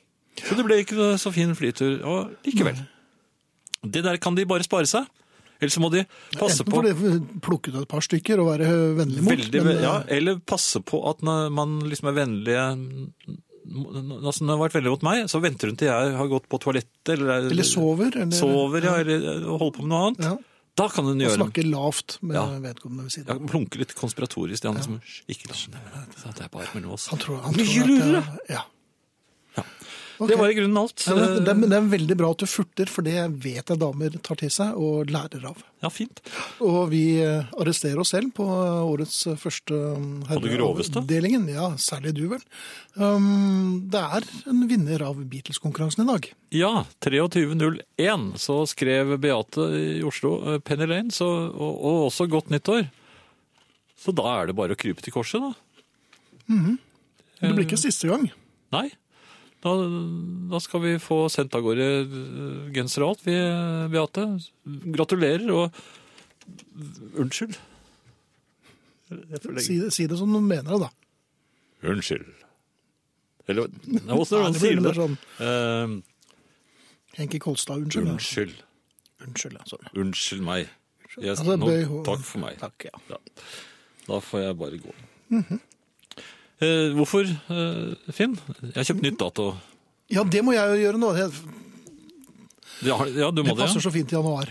[SPEAKER 2] Så det ble ikke noe så fin flytur og likevel. Det der kan de bare spare seg. Eller så må de passe
[SPEAKER 1] Mm. Enten
[SPEAKER 2] på
[SPEAKER 1] får de plukke ut et par stykker og være vennlig mot.
[SPEAKER 2] veldig,
[SPEAKER 1] men, eh,
[SPEAKER 2] ja, Eller passe på at når man liksom er vennlig Altså, når hun har vært veldig mot meg, så venter hun til jeg har gått på toalettet eller,
[SPEAKER 1] Eller sover, eller-
[SPEAKER 2] sover, ja, eller holder på med noe annet.
[SPEAKER 1] Ja.
[SPEAKER 2] Da kan hun
[SPEAKER 1] Og
[SPEAKER 2] gjøre
[SPEAKER 1] snakke lavt med
[SPEAKER 2] Ja.
[SPEAKER 1] vedkommende ved siden
[SPEAKER 2] ja, Plunke litt konspiratorisk til han som ikke la seg ned. Det er bare mellom oss.
[SPEAKER 1] Han tror, han
[SPEAKER 2] Mye
[SPEAKER 1] tror at det-
[SPEAKER 2] lurere!
[SPEAKER 1] Ja.
[SPEAKER 2] Det var i grunnen alt.
[SPEAKER 1] Ja, men det, men det er veldig bra at du furter, for det vet jeg damer tar til seg og lærer av.
[SPEAKER 2] Ja, fint.
[SPEAKER 1] Og vi eh, arresterer oss selv på eh, årets første
[SPEAKER 2] På det groveste?
[SPEAKER 1] herreavdelingen. Ja, særlig du vel. Um, det er en vinner av Beatles-konkurransen i dag.
[SPEAKER 2] Ja, 23.01 så skrev Beate i Oslo eh, Penny Lane, så, og, og også godt nyttår. Så da er det bare å krype til korset, da.
[SPEAKER 1] Det blir
[SPEAKER 2] Eh,
[SPEAKER 1] ikke siste gang.
[SPEAKER 2] Nei. Da, da skal vi få sendt av gårde eh, genser og alt, vi, eh, Beate. Gratulerer og Unnskyld. Jeg får legge-
[SPEAKER 1] Si, det- si det som du mener det, da.
[SPEAKER 2] Unnskyld. Eller Nei, hvordan
[SPEAKER 1] Nei,
[SPEAKER 2] er det
[SPEAKER 1] det
[SPEAKER 2] han
[SPEAKER 1] blir
[SPEAKER 2] sier det?
[SPEAKER 1] mer sånn
[SPEAKER 2] Eh,
[SPEAKER 1] Henki Kolstad, unnskyld.
[SPEAKER 2] unnskyld.
[SPEAKER 1] Unnskyld, altså.
[SPEAKER 2] Unnskyld meg. Jeg,
[SPEAKER 1] Altså,
[SPEAKER 2] nå,
[SPEAKER 1] bøy ho-
[SPEAKER 2] takk for meg.
[SPEAKER 1] Takk, ja.
[SPEAKER 2] Ja. Da får jeg bare gå. eh, hvorfor, eh, Finn? Jeg har kjøpt nytt dato.
[SPEAKER 1] Ja, det må jeg jo gjøre nå. Det,
[SPEAKER 2] Ja, ja, du må
[SPEAKER 1] det
[SPEAKER 2] det.
[SPEAKER 1] passer
[SPEAKER 2] Ja.
[SPEAKER 1] så fint i januar.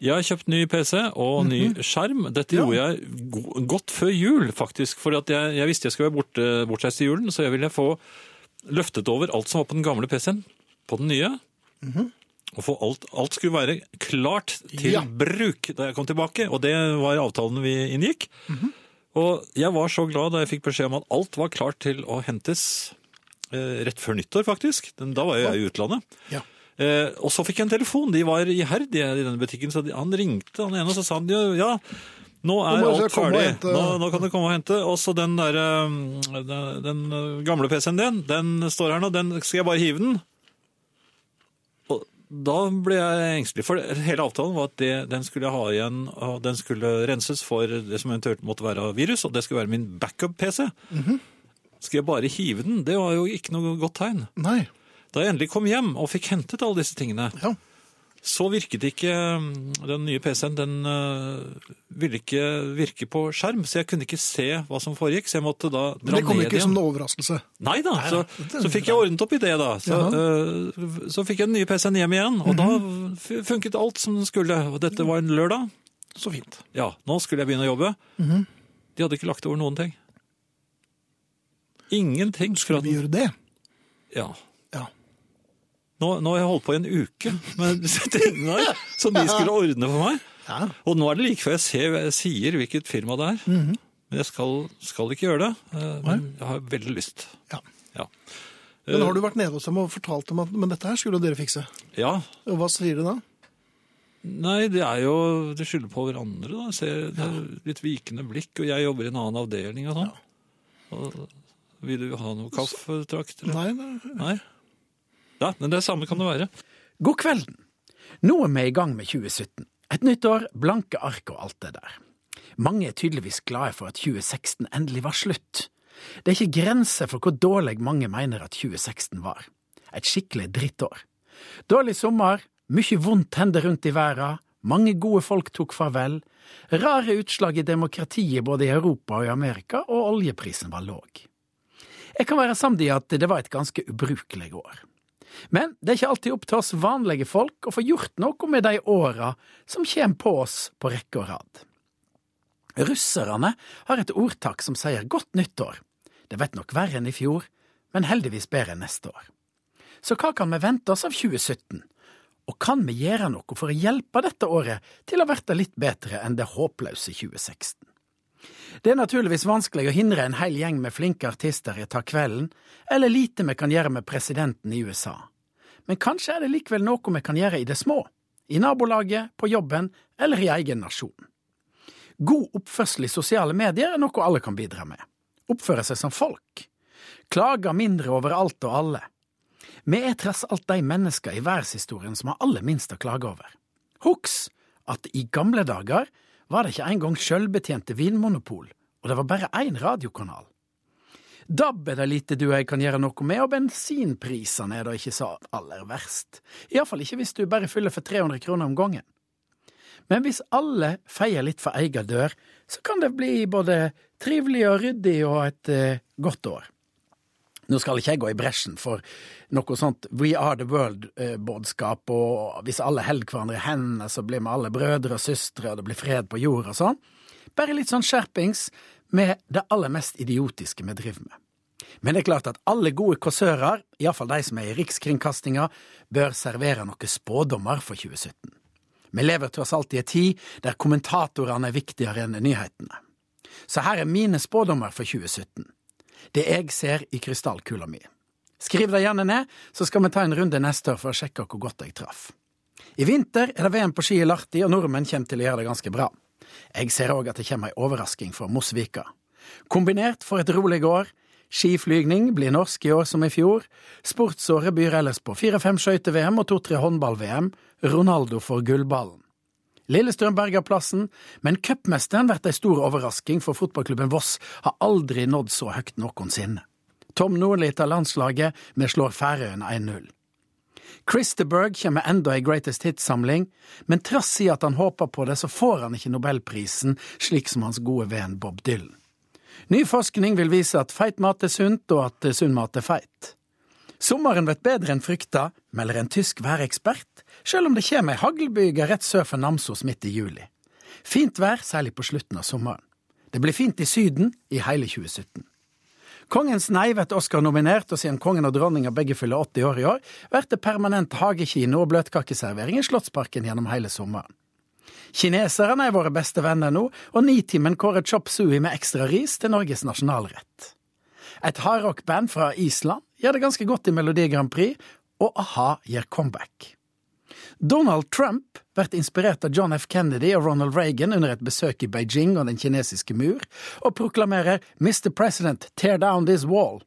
[SPEAKER 2] Jeg har kjøpt ny PC og ny
[SPEAKER 1] Mhm.
[SPEAKER 2] skjerm. Dette gjorde jeg go godt før jul, faktisk. For jeg, jeg visste jeg skulle være borte, bortreist i julen, så jeg ville få løftet over alt som var på den gamle PC-en, på den nye. Og få alt, alt skulle være klart
[SPEAKER 1] Mhm.
[SPEAKER 2] til
[SPEAKER 1] Ja.
[SPEAKER 2] bruk da jeg kom tilbake, og det var avtalen vi inngikk.
[SPEAKER 1] Mhm.
[SPEAKER 2] Og jeg var så glad da jeg fikk beskjed om at alt var klart til å hentes eh, rett før nyttår, faktisk. Den, da var jo jeg i utlandet.
[SPEAKER 1] Ja.
[SPEAKER 2] Eh, og så fikk jeg en telefon. De var iherdige i denne butikken, så de, han ringte han ene og så sa han jo ja. Nå er
[SPEAKER 1] Nå må du
[SPEAKER 2] alt
[SPEAKER 1] komme og
[SPEAKER 2] ferdig.
[SPEAKER 1] hente-
[SPEAKER 2] Nå, nå kan du komme og hente. Og så den, der, eh, den, den gamle PC-en din, den står her nå. Den skal jeg bare hive den. Og da ble jeg engstelig, for hele avtalen var at det, den skulle jeg ha igjen. og Den skulle renses for det som eventuelt måtte være av virus, og det skulle være min backup-PC.
[SPEAKER 1] Mhm.
[SPEAKER 2] Skal jeg bare hive den? Det var jo ikke noe godt tegn.
[SPEAKER 1] Nei.
[SPEAKER 2] Da jeg endelig kom hjem og fikk hentet alle disse tingene,
[SPEAKER 1] Ja.
[SPEAKER 2] så virket ikke mm, den nye PC-en. Den øh, ville ikke virke på skjerm, så jeg kunne ikke se hva som foregikk. Så jeg måtte da dra
[SPEAKER 1] Det kom
[SPEAKER 2] ned
[SPEAKER 1] ikke som en
[SPEAKER 2] igjen.
[SPEAKER 1] overraskelse.
[SPEAKER 2] Nei da, så,
[SPEAKER 1] det-
[SPEAKER 2] så fikk jeg ordnet opp i det, da. Så, øh, så fikk jeg den nye PC-en hjem igjen, og
[SPEAKER 1] Mhm.
[SPEAKER 2] da f- funket alt som den skulle. Og dette var en lørdag.
[SPEAKER 1] Så fint. Mhm.
[SPEAKER 2] Ja, nå skulle jeg begynne å jobbe. De hadde ikke lagt over noen ting. Ingenting. Skulle
[SPEAKER 1] Vi gjør det.
[SPEAKER 2] Ja.
[SPEAKER 1] Ja.
[SPEAKER 2] Nå, nå har jeg holdt på i en uke med *laughs* disse tingene her, som de skulle ordne for meg.
[SPEAKER 1] ja.
[SPEAKER 2] Og nå er det like før jeg, ser, jeg sier hvilket firma det er. Men jeg skal, skal ikke gjøre det. eh, Men jeg har veldig lyst.
[SPEAKER 1] ja.
[SPEAKER 2] Ja. Eh.
[SPEAKER 1] Men har du vært nede hos dem og fortalt dem at men dette her skulle dere fikse?
[SPEAKER 2] ja.
[SPEAKER 1] Og hva sier de da?
[SPEAKER 2] Nei, det er jo Det skylder på hverandre, da. Jeg ser det er litt vikende blikk, og jeg jobber i en annen avdeling og sånn. Og, vil du ha noe kaffetrakt? eller?
[SPEAKER 1] Nei, nei.
[SPEAKER 2] Nei. Ja, men det samme kan det være.
[SPEAKER 4] God kvelden. Nå er vi i gang med 2017. Et nytt år, blanke ark og alt det der. Mange er tydeligvis glade for at 2016 endelig var slutt. Det er ikke grenser for hvor dårlig mange mener at 2016 var. Et skikkelig drittår. Dårlig sommer, mye vondt hender rundt i verden, mange gode folk tok farvel, rare utslag i demokratiet både i Europa og i Amerika, og oljeprisen var låg. Jeg kan være samd i at det var et ganske ubrukelig år. Men det er ikke alltid opp til oss vanlige folk å få gjort noe med de åra som kommer på oss på rekke og rad. Russerne har et ordtak som sier godt nyttår. Det vet nok verre enn i fjor, men heldigvis bedre enn neste år. Så hva kan vi vente oss av 2017? Og kan vi gjøre noe for å hjelpe dette året til å bli litt bedre enn det håpløse 2016? Det er naturligvis vanskelig å hindre en hel gjeng med flinke artister i å ta kvelden, eller lite vi kan gjøre med presidenten i USA. Men kanskje er det likevel noe vi kan gjøre i det små, i nabolaget, på jobben eller i egen nasjon. God oppførsel i sosiale medier er noe alle kan bidra med. Oppføre seg som folk. Klage mindre over alt og alle. Vi er tross alt de mennesker i verdenshistorien som har aller minst å klage over. Husk at i gamle dager var det ikke engang sjølbetjente vinmonopol, og det var bare én radiokanal. DAB er det lite du og jeg kan gjøre noe med, og bensinprisene er da ikke så aller verst. Iallfall ikke hvis du bare fyller for 300 kroner om gangen. Men hvis alle feier litt for egen dør, så kan det bli både trivelig og ryddig og et eh, godt år. Nå skal ikke jeg gå i bresjen for noe sånt We are the world-budskap, og hvis alle holder hverandre i hendene, så blir vi alle brødre og søstre, og det blir fred på jord og sånn. Bare litt sånn skjerpings med det aller mest idiotiske vi driver med. Men det er klart at alle gode kåsører, iallfall de som er i Rikskringkastinga, bør servere noen spådommer for 2017. Vi lever tross alt i ei tid der kommentatorene er viktigere enn nyhetene. Så her er mine spådommer for 2017. Det jeg ser i krystallkula mi. Skriv det gjerne ned, så skal vi ta en runde neste år for å sjekke hvor godt jeg traff. I vinter er det VM på ski i Lahti, og nordmenn kommer til å gjøre det ganske bra. Jeg ser òg at det kommer ei overrasking fra Mosvika. Kombinert for et rolig år. Skiflygning blir norsk i år som i fjor. Sportsåret byr ellers på fire-fem skøyte-VM og to-tre håndball-VM. Ronaldo får gullballen. Lillestrøm berger plassen, men cupmesteren blir ei stor overrasking, for fotballklubben Voss har aldri nådd så høyt noensinne. Tom Nordli tar landslaget, vi slår Færøyene 1-0. Chris de Berg kommer med enda ei Greatest Hits-samling, men trass i at han håper på det, så får han ikke Nobelprisen, slik som hans gode venn Bob Dylan. Ny forskning vil vise at feit mat er sunt, og at sunn mat er feit. Sommeren blir bedre enn frykta, melder en tysk værekspert, sjøl om det kommer ei haglbyge rett sør for Namsos midt i juli. Fint vær, særlig på slutten av sommeren. Det blir fint i Syden i hele 2017. Kongens nei blir Oscar-nominert, og siden kongen og dronninga begge fyller 80 år i år, blir det permanent hagekino og bløtkakeservering i Slottsparken gjennom hele sommeren. Kineserne er våre beste venner nå, og Nitimen kårer chop sui med ekstra ris til Norges nasjonalrett. Et hardrockband fra Island gjør det ganske godt i Melodi Grand Prix, og a-ha gjør comeback. Donald Trump blir inspirert av John F. Kennedy og Ronald Reagan under et besøk i Beijing og den kinesiske mur, og proklamerer Mr. President, tear down this wall.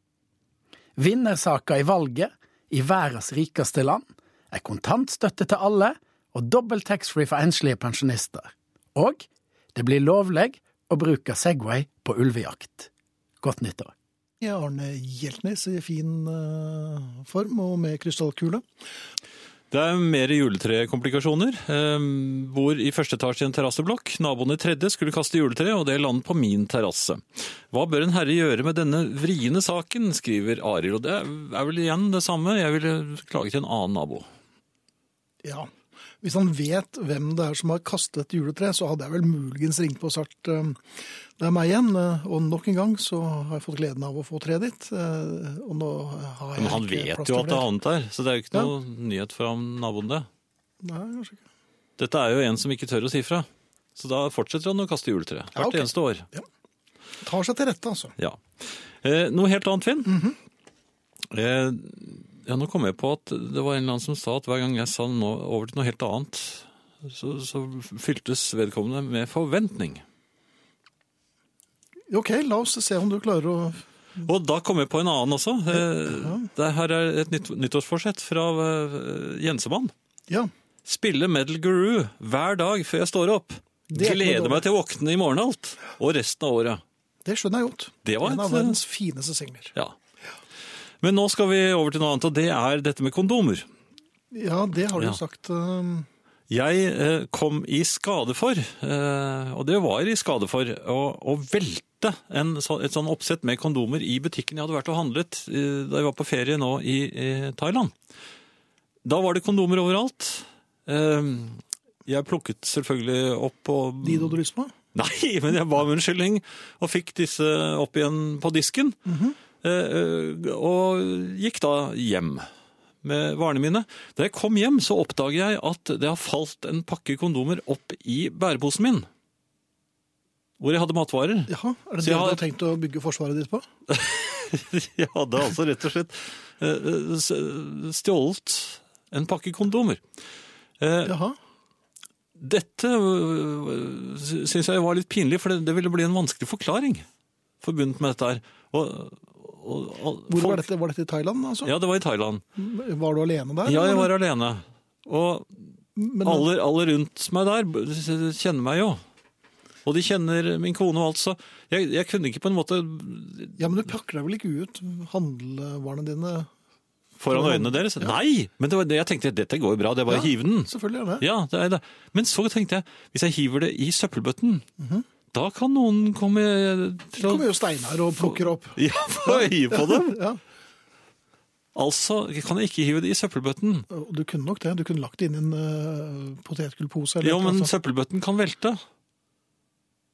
[SPEAKER 4] Vinnersaka i valget, i verdens rikeste land, er kontantstøtte til alle og dobbel taxfree for enslige pensjonister. Og det blir lovlig å bruke Segway på ulvejakt. Godt nyttår.
[SPEAKER 1] Ja, Arne Hjeltnes i fin eh, form og med krystallkule.
[SPEAKER 2] Det er mer juletrekomplikasjoner. Ehm, Bor i første etasje i en terrasseblokk. Naboen i tredje skulle kaste juletre, og det landet på min terrasse. Hva bør en herre gjøre med denne vriene saken, skriver Arild. Og det er vel igjen det samme. Jeg ville klage til en annen nabo.
[SPEAKER 1] Ja. Hvis han vet hvem det er som har kastet juletre, så hadde jeg vel muligens ringt på og sagt eh, det er meg igjen, eh, og nok en gang så har jeg fått gleden av å få treet ditt. eh, Og nå har jeg
[SPEAKER 2] Men han
[SPEAKER 1] ikke plass
[SPEAKER 2] vet
[SPEAKER 1] til
[SPEAKER 2] jo at det
[SPEAKER 1] flere.
[SPEAKER 2] er annet der, så det er jo ikke
[SPEAKER 1] Ja.
[SPEAKER 2] noe nyhet for ham, naboen det.
[SPEAKER 1] Nei, kanskje ikke.
[SPEAKER 2] Dette er jo en som ikke tør å si fra. Så da fortsetter han å kaste juletre. Hvert
[SPEAKER 1] Ja, ok.
[SPEAKER 2] eneste år.
[SPEAKER 1] Tar seg til rette, altså.
[SPEAKER 2] Ja. Eh, noe helt annet, Finn.
[SPEAKER 1] Mhm.
[SPEAKER 2] eh, ja, nå kom jeg på at det var en eller annen som sa at hver gang jeg sa noe over til noe helt annet, så, så fyltes vedkommende med forventning.
[SPEAKER 1] OK, la oss se om du klarer å Mm.
[SPEAKER 2] Og da kom jeg på en annen også. Eh, det her er et nytt, nyttårsforsett fra eh, Jensemann.
[SPEAKER 1] Ja.
[SPEAKER 2] Spille Metal Guru hver dag før jeg står opp.
[SPEAKER 1] Det er ikke noe
[SPEAKER 2] Gleder
[SPEAKER 1] dårlig.
[SPEAKER 2] meg til å våkne i morgen alt, og resten av året.
[SPEAKER 1] Det skjønner jeg godt.
[SPEAKER 2] Det var
[SPEAKER 1] en
[SPEAKER 2] et-
[SPEAKER 1] av verdens fineste singler.
[SPEAKER 2] Ja. Men nå skal vi over til noe annet, og det er dette med kondomer.
[SPEAKER 1] Ja, det har du
[SPEAKER 2] Ja.
[SPEAKER 1] jo sagt. ehm,
[SPEAKER 2] Jeg eh, kom i skade for, eh, og det var i skade for, å, å velte en, så- et sånn oppsett med kondomer i butikken jeg hadde vært og handlet eh, da jeg var på ferie nå i eh, Thailand. Da var det kondomer overalt. Eh, jeg plukket selvfølgelig opp og
[SPEAKER 1] De du hadde lyst på?
[SPEAKER 2] *laughs* Nei, men jeg ba om unnskyldning og fikk disse opp igjen på disken. Eh, eh, og gikk da hjem med varene mine. Da jeg kom hjem, så oppdager jeg at det har falt en pakke kondomer opp i bæreposen min. Hvor jeg hadde matvarer.
[SPEAKER 1] Jaha, er det det
[SPEAKER 2] Så jeg
[SPEAKER 1] du
[SPEAKER 2] har-
[SPEAKER 1] har tenkt å bygge forsvaret ditt på?
[SPEAKER 2] *laughs* Jeg hadde altså rett og slett eh, eh, s- stjålet en pakke kondomer. Eh,
[SPEAKER 1] Jaha.
[SPEAKER 2] Dette øh, sy- syns jeg var litt pinlig, for det, det ville bli en vanskelig forklaring forbundet med dette her. Og, og, og,
[SPEAKER 1] Hvor
[SPEAKER 2] folk-
[SPEAKER 1] var dette? Var dette i Thailand, altså?
[SPEAKER 2] Ja, det var i Thailand.
[SPEAKER 1] Var du alene der?
[SPEAKER 2] Ja, jeg
[SPEAKER 1] eller?
[SPEAKER 2] var alene. Og
[SPEAKER 1] Men-
[SPEAKER 2] alle, alle rundt meg der b- kjenner meg jo. Og de kjenner min kone og alt, så jeg, jeg kunne ikke på en måte
[SPEAKER 1] Ja, men du pakker deg vel ikke ut handlevarene dine?
[SPEAKER 2] foran øynene deres. Nei! Men det var det jeg tenkte, dette går jo bra, det er bare å hive den.
[SPEAKER 1] Selvfølgelig er det.
[SPEAKER 2] Ja, det er det. Men så tenkte jeg, hvis jeg hiver det i søppelbøtten, da kan noen komme
[SPEAKER 1] Så
[SPEAKER 2] til
[SPEAKER 1] Mhm.
[SPEAKER 2] å
[SPEAKER 1] kommer jo Steinar og plukker opp.
[SPEAKER 2] ja, få øye på dem.
[SPEAKER 1] Ja,
[SPEAKER 2] *laughs* Altså kan jeg ikke hive det i søppelbøtten.
[SPEAKER 1] og Du kunne nok det. Du kunne lagt det inn i en eh, potetgullpose. eller et
[SPEAKER 2] Jo,
[SPEAKER 1] eller
[SPEAKER 2] men
[SPEAKER 1] annet sånt.
[SPEAKER 2] søppelbøtten kan velte.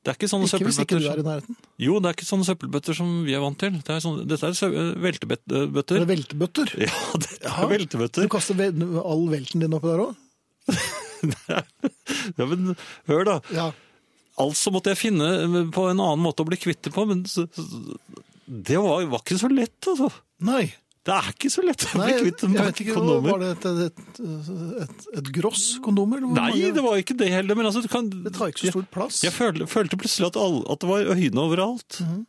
[SPEAKER 2] Det er ikke sånne
[SPEAKER 1] Ikke hvis ikke
[SPEAKER 2] søppelbøtter
[SPEAKER 1] du
[SPEAKER 2] som-
[SPEAKER 1] er i nærheten.
[SPEAKER 2] Jo, det er ikke sånne søppelbøtter som vi er vant til. Det er sånne, dette er sø- eh,
[SPEAKER 1] Det er
[SPEAKER 2] veltebøtter.
[SPEAKER 1] veltebøtter.
[SPEAKER 2] Ja, *laughs* det er
[SPEAKER 1] Ja.
[SPEAKER 2] veltebøtter.
[SPEAKER 1] Du kaster ve- all velten din oppi der òg?
[SPEAKER 2] Ja, men hør da.
[SPEAKER 1] Ja.
[SPEAKER 2] Altså måtte jeg finne på en annen måte å bli kvitt det på, men så, så- det var, var ikke så lett, altså.
[SPEAKER 1] Nei.
[SPEAKER 2] Det er ikke så lett å
[SPEAKER 1] Nei,
[SPEAKER 2] bli
[SPEAKER 1] jeg
[SPEAKER 2] kvitt en
[SPEAKER 1] vet
[SPEAKER 2] pakke
[SPEAKER 1] ikke,
[SPEAKER 2] kondomer.
[SPEAKER 1] Var det et, et, et, et gross kondomer? eller hvor
[SPEAKER 2] Nei,
[SPEAKER 1] mange-
[SPEAKER 2] det var ikke det heller, men altså du kan
[SPEAKER 1] det tar ikke så stor plass.
[SPEAKER 2] Jeg, jeg følte, følte plutselig at, alle, at det var øyne overalt.
[SPEAKER 1] Mhm.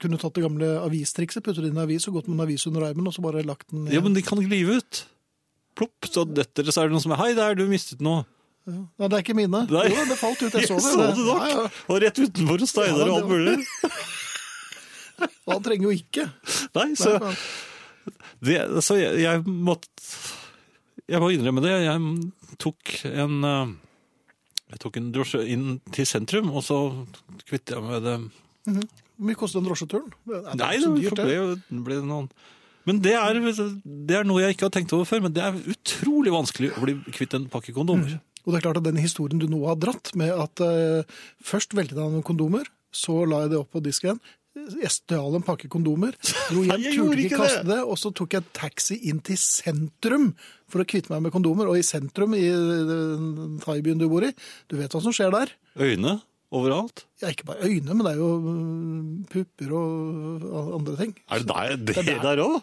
[SPEAKER 1] Kunne tatt det gamle avistrikset, puttet det inn i en avis og gått med en avis under armen, og så bare lagt den
[SPEAKER 2] Ja, men de kan glive ut. Plopp, så detter det, så er det noen som er Hei, der, du mistet noe.
[SPEAKER 1] Nei, det er ikke mine.
[SPEAKER 2] Nei.
[SPEAKER 1] Jo, det falt ut, *laughs*
[SPEAKER 2] *laughs*
[SPEAKER 1] jeg så det.
[SPEAKER 2] nok.
[SPEAKER 1] Ja, ja.
[SPEAKER 2] Og rett utenfor hos
[SPEAKER 1] Ja,
[SPEAKER 2] Steinar
[SPEAKER 1] det
[SPEAKER 2] og alt
[SPEAKER 1] var-
[SPEAKER 2] mulig.
[SPEAKER 1] Og han trenger jo ikke.
[SPEAKER 2] *laughs* Nei,
[SPEAKER 1] Nei,
[SPEAKER 2] så,
[SPEAKER 1] faen.
[SPEAKER 2] det, så jeg, jeg måtte Jeg må innrømme det. Jeg tok en eh, jeg tok en drosje inn til sentrum, og så kvittet jeg meg med det.
[SPEAKER 1] Hvor mye kostet den drosjeturen? Nei, det er
[SPEAKER 2] Nei,
[SPEAKER 1] så
[SPEAKER 2] det
[SPEAKER 1] dyrt,
[SPEAKER 2] ble
[SPEAKER 1] det.
[SPEAKER 2] jo ble noen Men det er, det er noe jeg ikke har tenkt over før, men det er utrolig vanskelig å bli kvitt en pakke kondomer.
[SPEAKER 1] Og det er klart at den historien du nå har dratt, med at eh, først veltet han noen kondomer, så la jeg det opp på disken, jeg stjal en pakke kondomer, dro hjem,
[SPEAKER 2] Nei, *laughs* jeg gjorde
[SPEAKER 1] turte ikke
[SPEAKER 2] ikke
[SPEAKER 1] kaste
[SPEAKER 2] det.
[SPEAKER 1] det, og så tok jeg taxi inn til sentrum for å kvitte meg med kondomer. Og i sentrum, i eh, den thaibyen du bor i, du vet hva som skjer der.
[SPEAKER 2] Øyne overalt.
[SPEAKER 1] Ja, ikke bare øyne, men det er jo øh, pupper og andre ting.
[SPEAKER 2] Er det der, det,
[SPEAKER 1] Det er
[SPEAKER 2] der òg?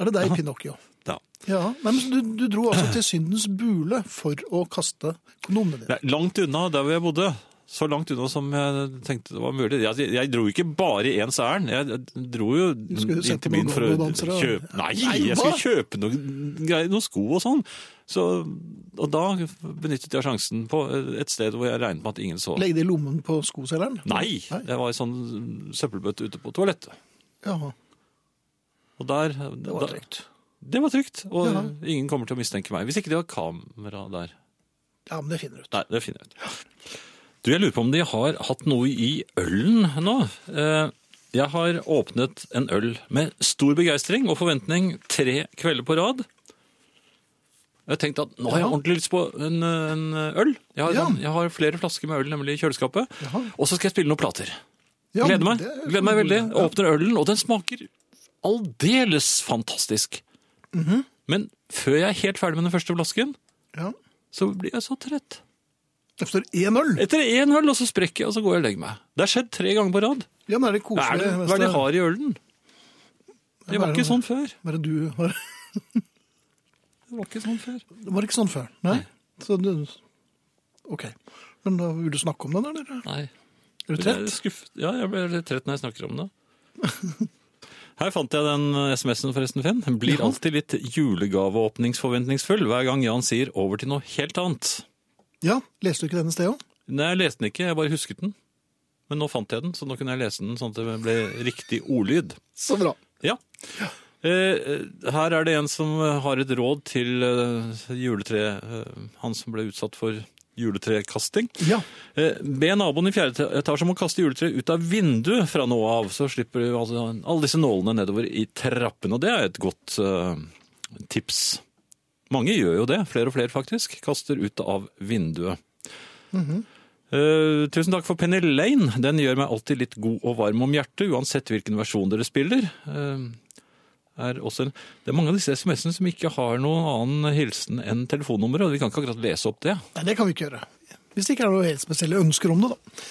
[SPEAKER 1] Er det deg, Pinocchio?
[SPEAKER 2] Ja.
[SPEAKER 1] Ja, Nei, men du, du dro altså til syndens bule for å kaste kondomene dine.
[SPEAKER 2] Nei, Langt unna der hvor jeg bodde. Så langt unna som jeg tenkte det var mulig. Jeg, altså, jeg dro ikke bare i ens ærend. Jeg dro jo
[SPEAKER 1] skulle
[SPEAKER 2] inn
[SPEAKER 1] sette på
[SPEAKER 2] til byen
[SPEAKER 1] noen
[SPEAKER 2] for å
[SPEAKER 1] gododansere og-
[SPEAKER 2] kjøpe Nei,
[SPEAKER 1] Nei,
[SPEAKER 2] jeg
[SPEAKER 1] hva?
[SPEAKER 2] skulle kjøpe noen, greier, noen sko og sånn. Så, og da benyttet jeg sjansen på et sted hvor jeg regnet med at ingen så.
[SPEAKER 1] Legge det i lommen på skoselgeren?
[SPEAKER 2] Nei!
[SPEAKER 1] Nei.
[SPEAKER 2] Jeg var i sånn søppelbøtte ute på toalettet.
[SPEAKER 1] Jaha,
[SPEAKER 2] Og der
[SPEAKER 1] det var
[SPEAKER 2] da-
[SPEAKER 1] trygt.
[SPEAKER 2] Det var trygt. Og
[SPEAKER 1] Ja.
[SPEAKER 2] ingen kommer til å mistenke meg. Hvis ikke de har kamera der.
[SPEAKER 1] Ja, men det finner du ut.
[SPEAKER 2] Nei, det finner jeg ut. Du, jeg lurer på om de har hatt noe i ølen nå. Eh, Jeg har åpnet en øl med stor begeistring og forventning tre kvelder på rad. Jeg tenkte at nå har jeg
[SPEAKER 1] Jaha.
[SPEAKER 2] ordentlig lyst på en, eh, en øl. Jeg har,
[SPEAKER 1] Ja.
[SPEAKER 2] jeg har flere flasker med øl nemlig i kjøleskapet.
[SPEAKER 1] Jaha.
[SPEAKER 2] Og så skal jeg spille noen plater.
[SPEAKER 1] Ja,
[SPEAKER 2] Gleder meg.
[SPEAKER 1] det-
[SPEAKER 2] Gleder meg veldig. Åpner ølen, og den smaker aldeles fantastisk.
[SPEAKER 1] Mhm.
[SPEAKER 2] Men før jeg er helt ferdig med den første flasken,
[SPEAKER 1] Ja.
[SPEAKER 2] så blir jeg så trett.
[SPEAKER 1] Efter 1-0.
[SPEAKER 2] Etter én øl, og så sprekker jeg, og så går jeg og legger meg. Det har skjedd tre ganger på rad.
[SPEAKER 1] Ja, men er det
[SPEAKER 2] Hva er
[SPEAKER 1] koselig?
[SPEAKER 2] det,
[SPEAKER 1] mens
[SPEAKER 2] hva er det de har i ølen? Det
[SPEAKER 1] Hva er
[SPEAKER 2] var
[SPEAKER 1] det-
[SPEAKER 2] ikke sånn før.
[SPEAKER 1] Hva er det du har?
[SPEAKER 2] Det var ikke sånn før.
[SPEAKER 1] Det var ikke sånn før. Nei. Så du... Ok. Men da vil du snakke om den, eller?
[SPEAKER 2] Nei.
[SPEAKER 1] Er du
[SPEAKER 2] Jeg ble
[SPEAKER 1] trett?
[SPEAKER 2] skuffet. Ja, jeg ble litt trett når jeg snakker om det.
[SPEAKER 1] *laughs*
[SPEAKER 2] Her fant jeg den eh, SMS-en forresten, Finn. Den blir alltid litt julegaveåpningsforventningsfull hver gang Jan sier 'over til noe helt annet'.
[SPEAKER 1] Ja, leste du ikke denne stedet også?
[SPEAKER 2] Nei, jeg leste den ikke, jeg bare husket den. Men nå fant jeg den, så nå kunne jeg lese den sånn at det ble riktig ordlyd.
[SPEAKER 1] Så bra.
[SPEAKER 2] Ja. Eh, her er det en som eh, har et råd til eh, juletre... Eh, han som ble utsatt for juletrekasting.
[SPEAKER 1] Ja.
[SPEAKER 2] Eh, be naboen i fjerde etasje om å kaste juletre ut av vinduet fra nå av, så slipper du altså, alle disse nålene nedover i trappen. Og det er et godt eh, tips. Mange gjør jo det, flere og flere faktisk. Kaster ut av vinduet. Eh, tusen takk for Penny Lane. Den gjør meg alltid litt god og varm om hjertet, uansett hvilken versjon dere spiller. Eh, er også en, det er mange av disse SMS-ene som ikke har noen annen hilsen enn telefonnummer, og vi kan ikke akkurat lese opp det.
[SPEAKER 1] Nei, det kan vi ikke gjøre. Hvis det ikke er noe helt spesielle ønsker om det, da.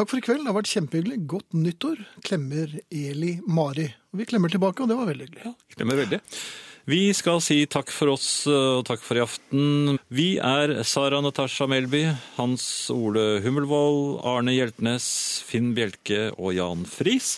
[SPEAKER 1] Takk for i kveld, det har vært kjempehyggelig. Godt nyttår, klemmer Eli Mari. Og vi klemmer tilbake, og det var veldig hyggelig.
[SPEAKER 2] Klemmer veldig. Vi skal si takk for oss eh, og takk for i aften. Vi er Sara Natasha Melby, Hans Ole Hummelvold, Arne Hjeltnes, Finn Bjelke og Jan Friis.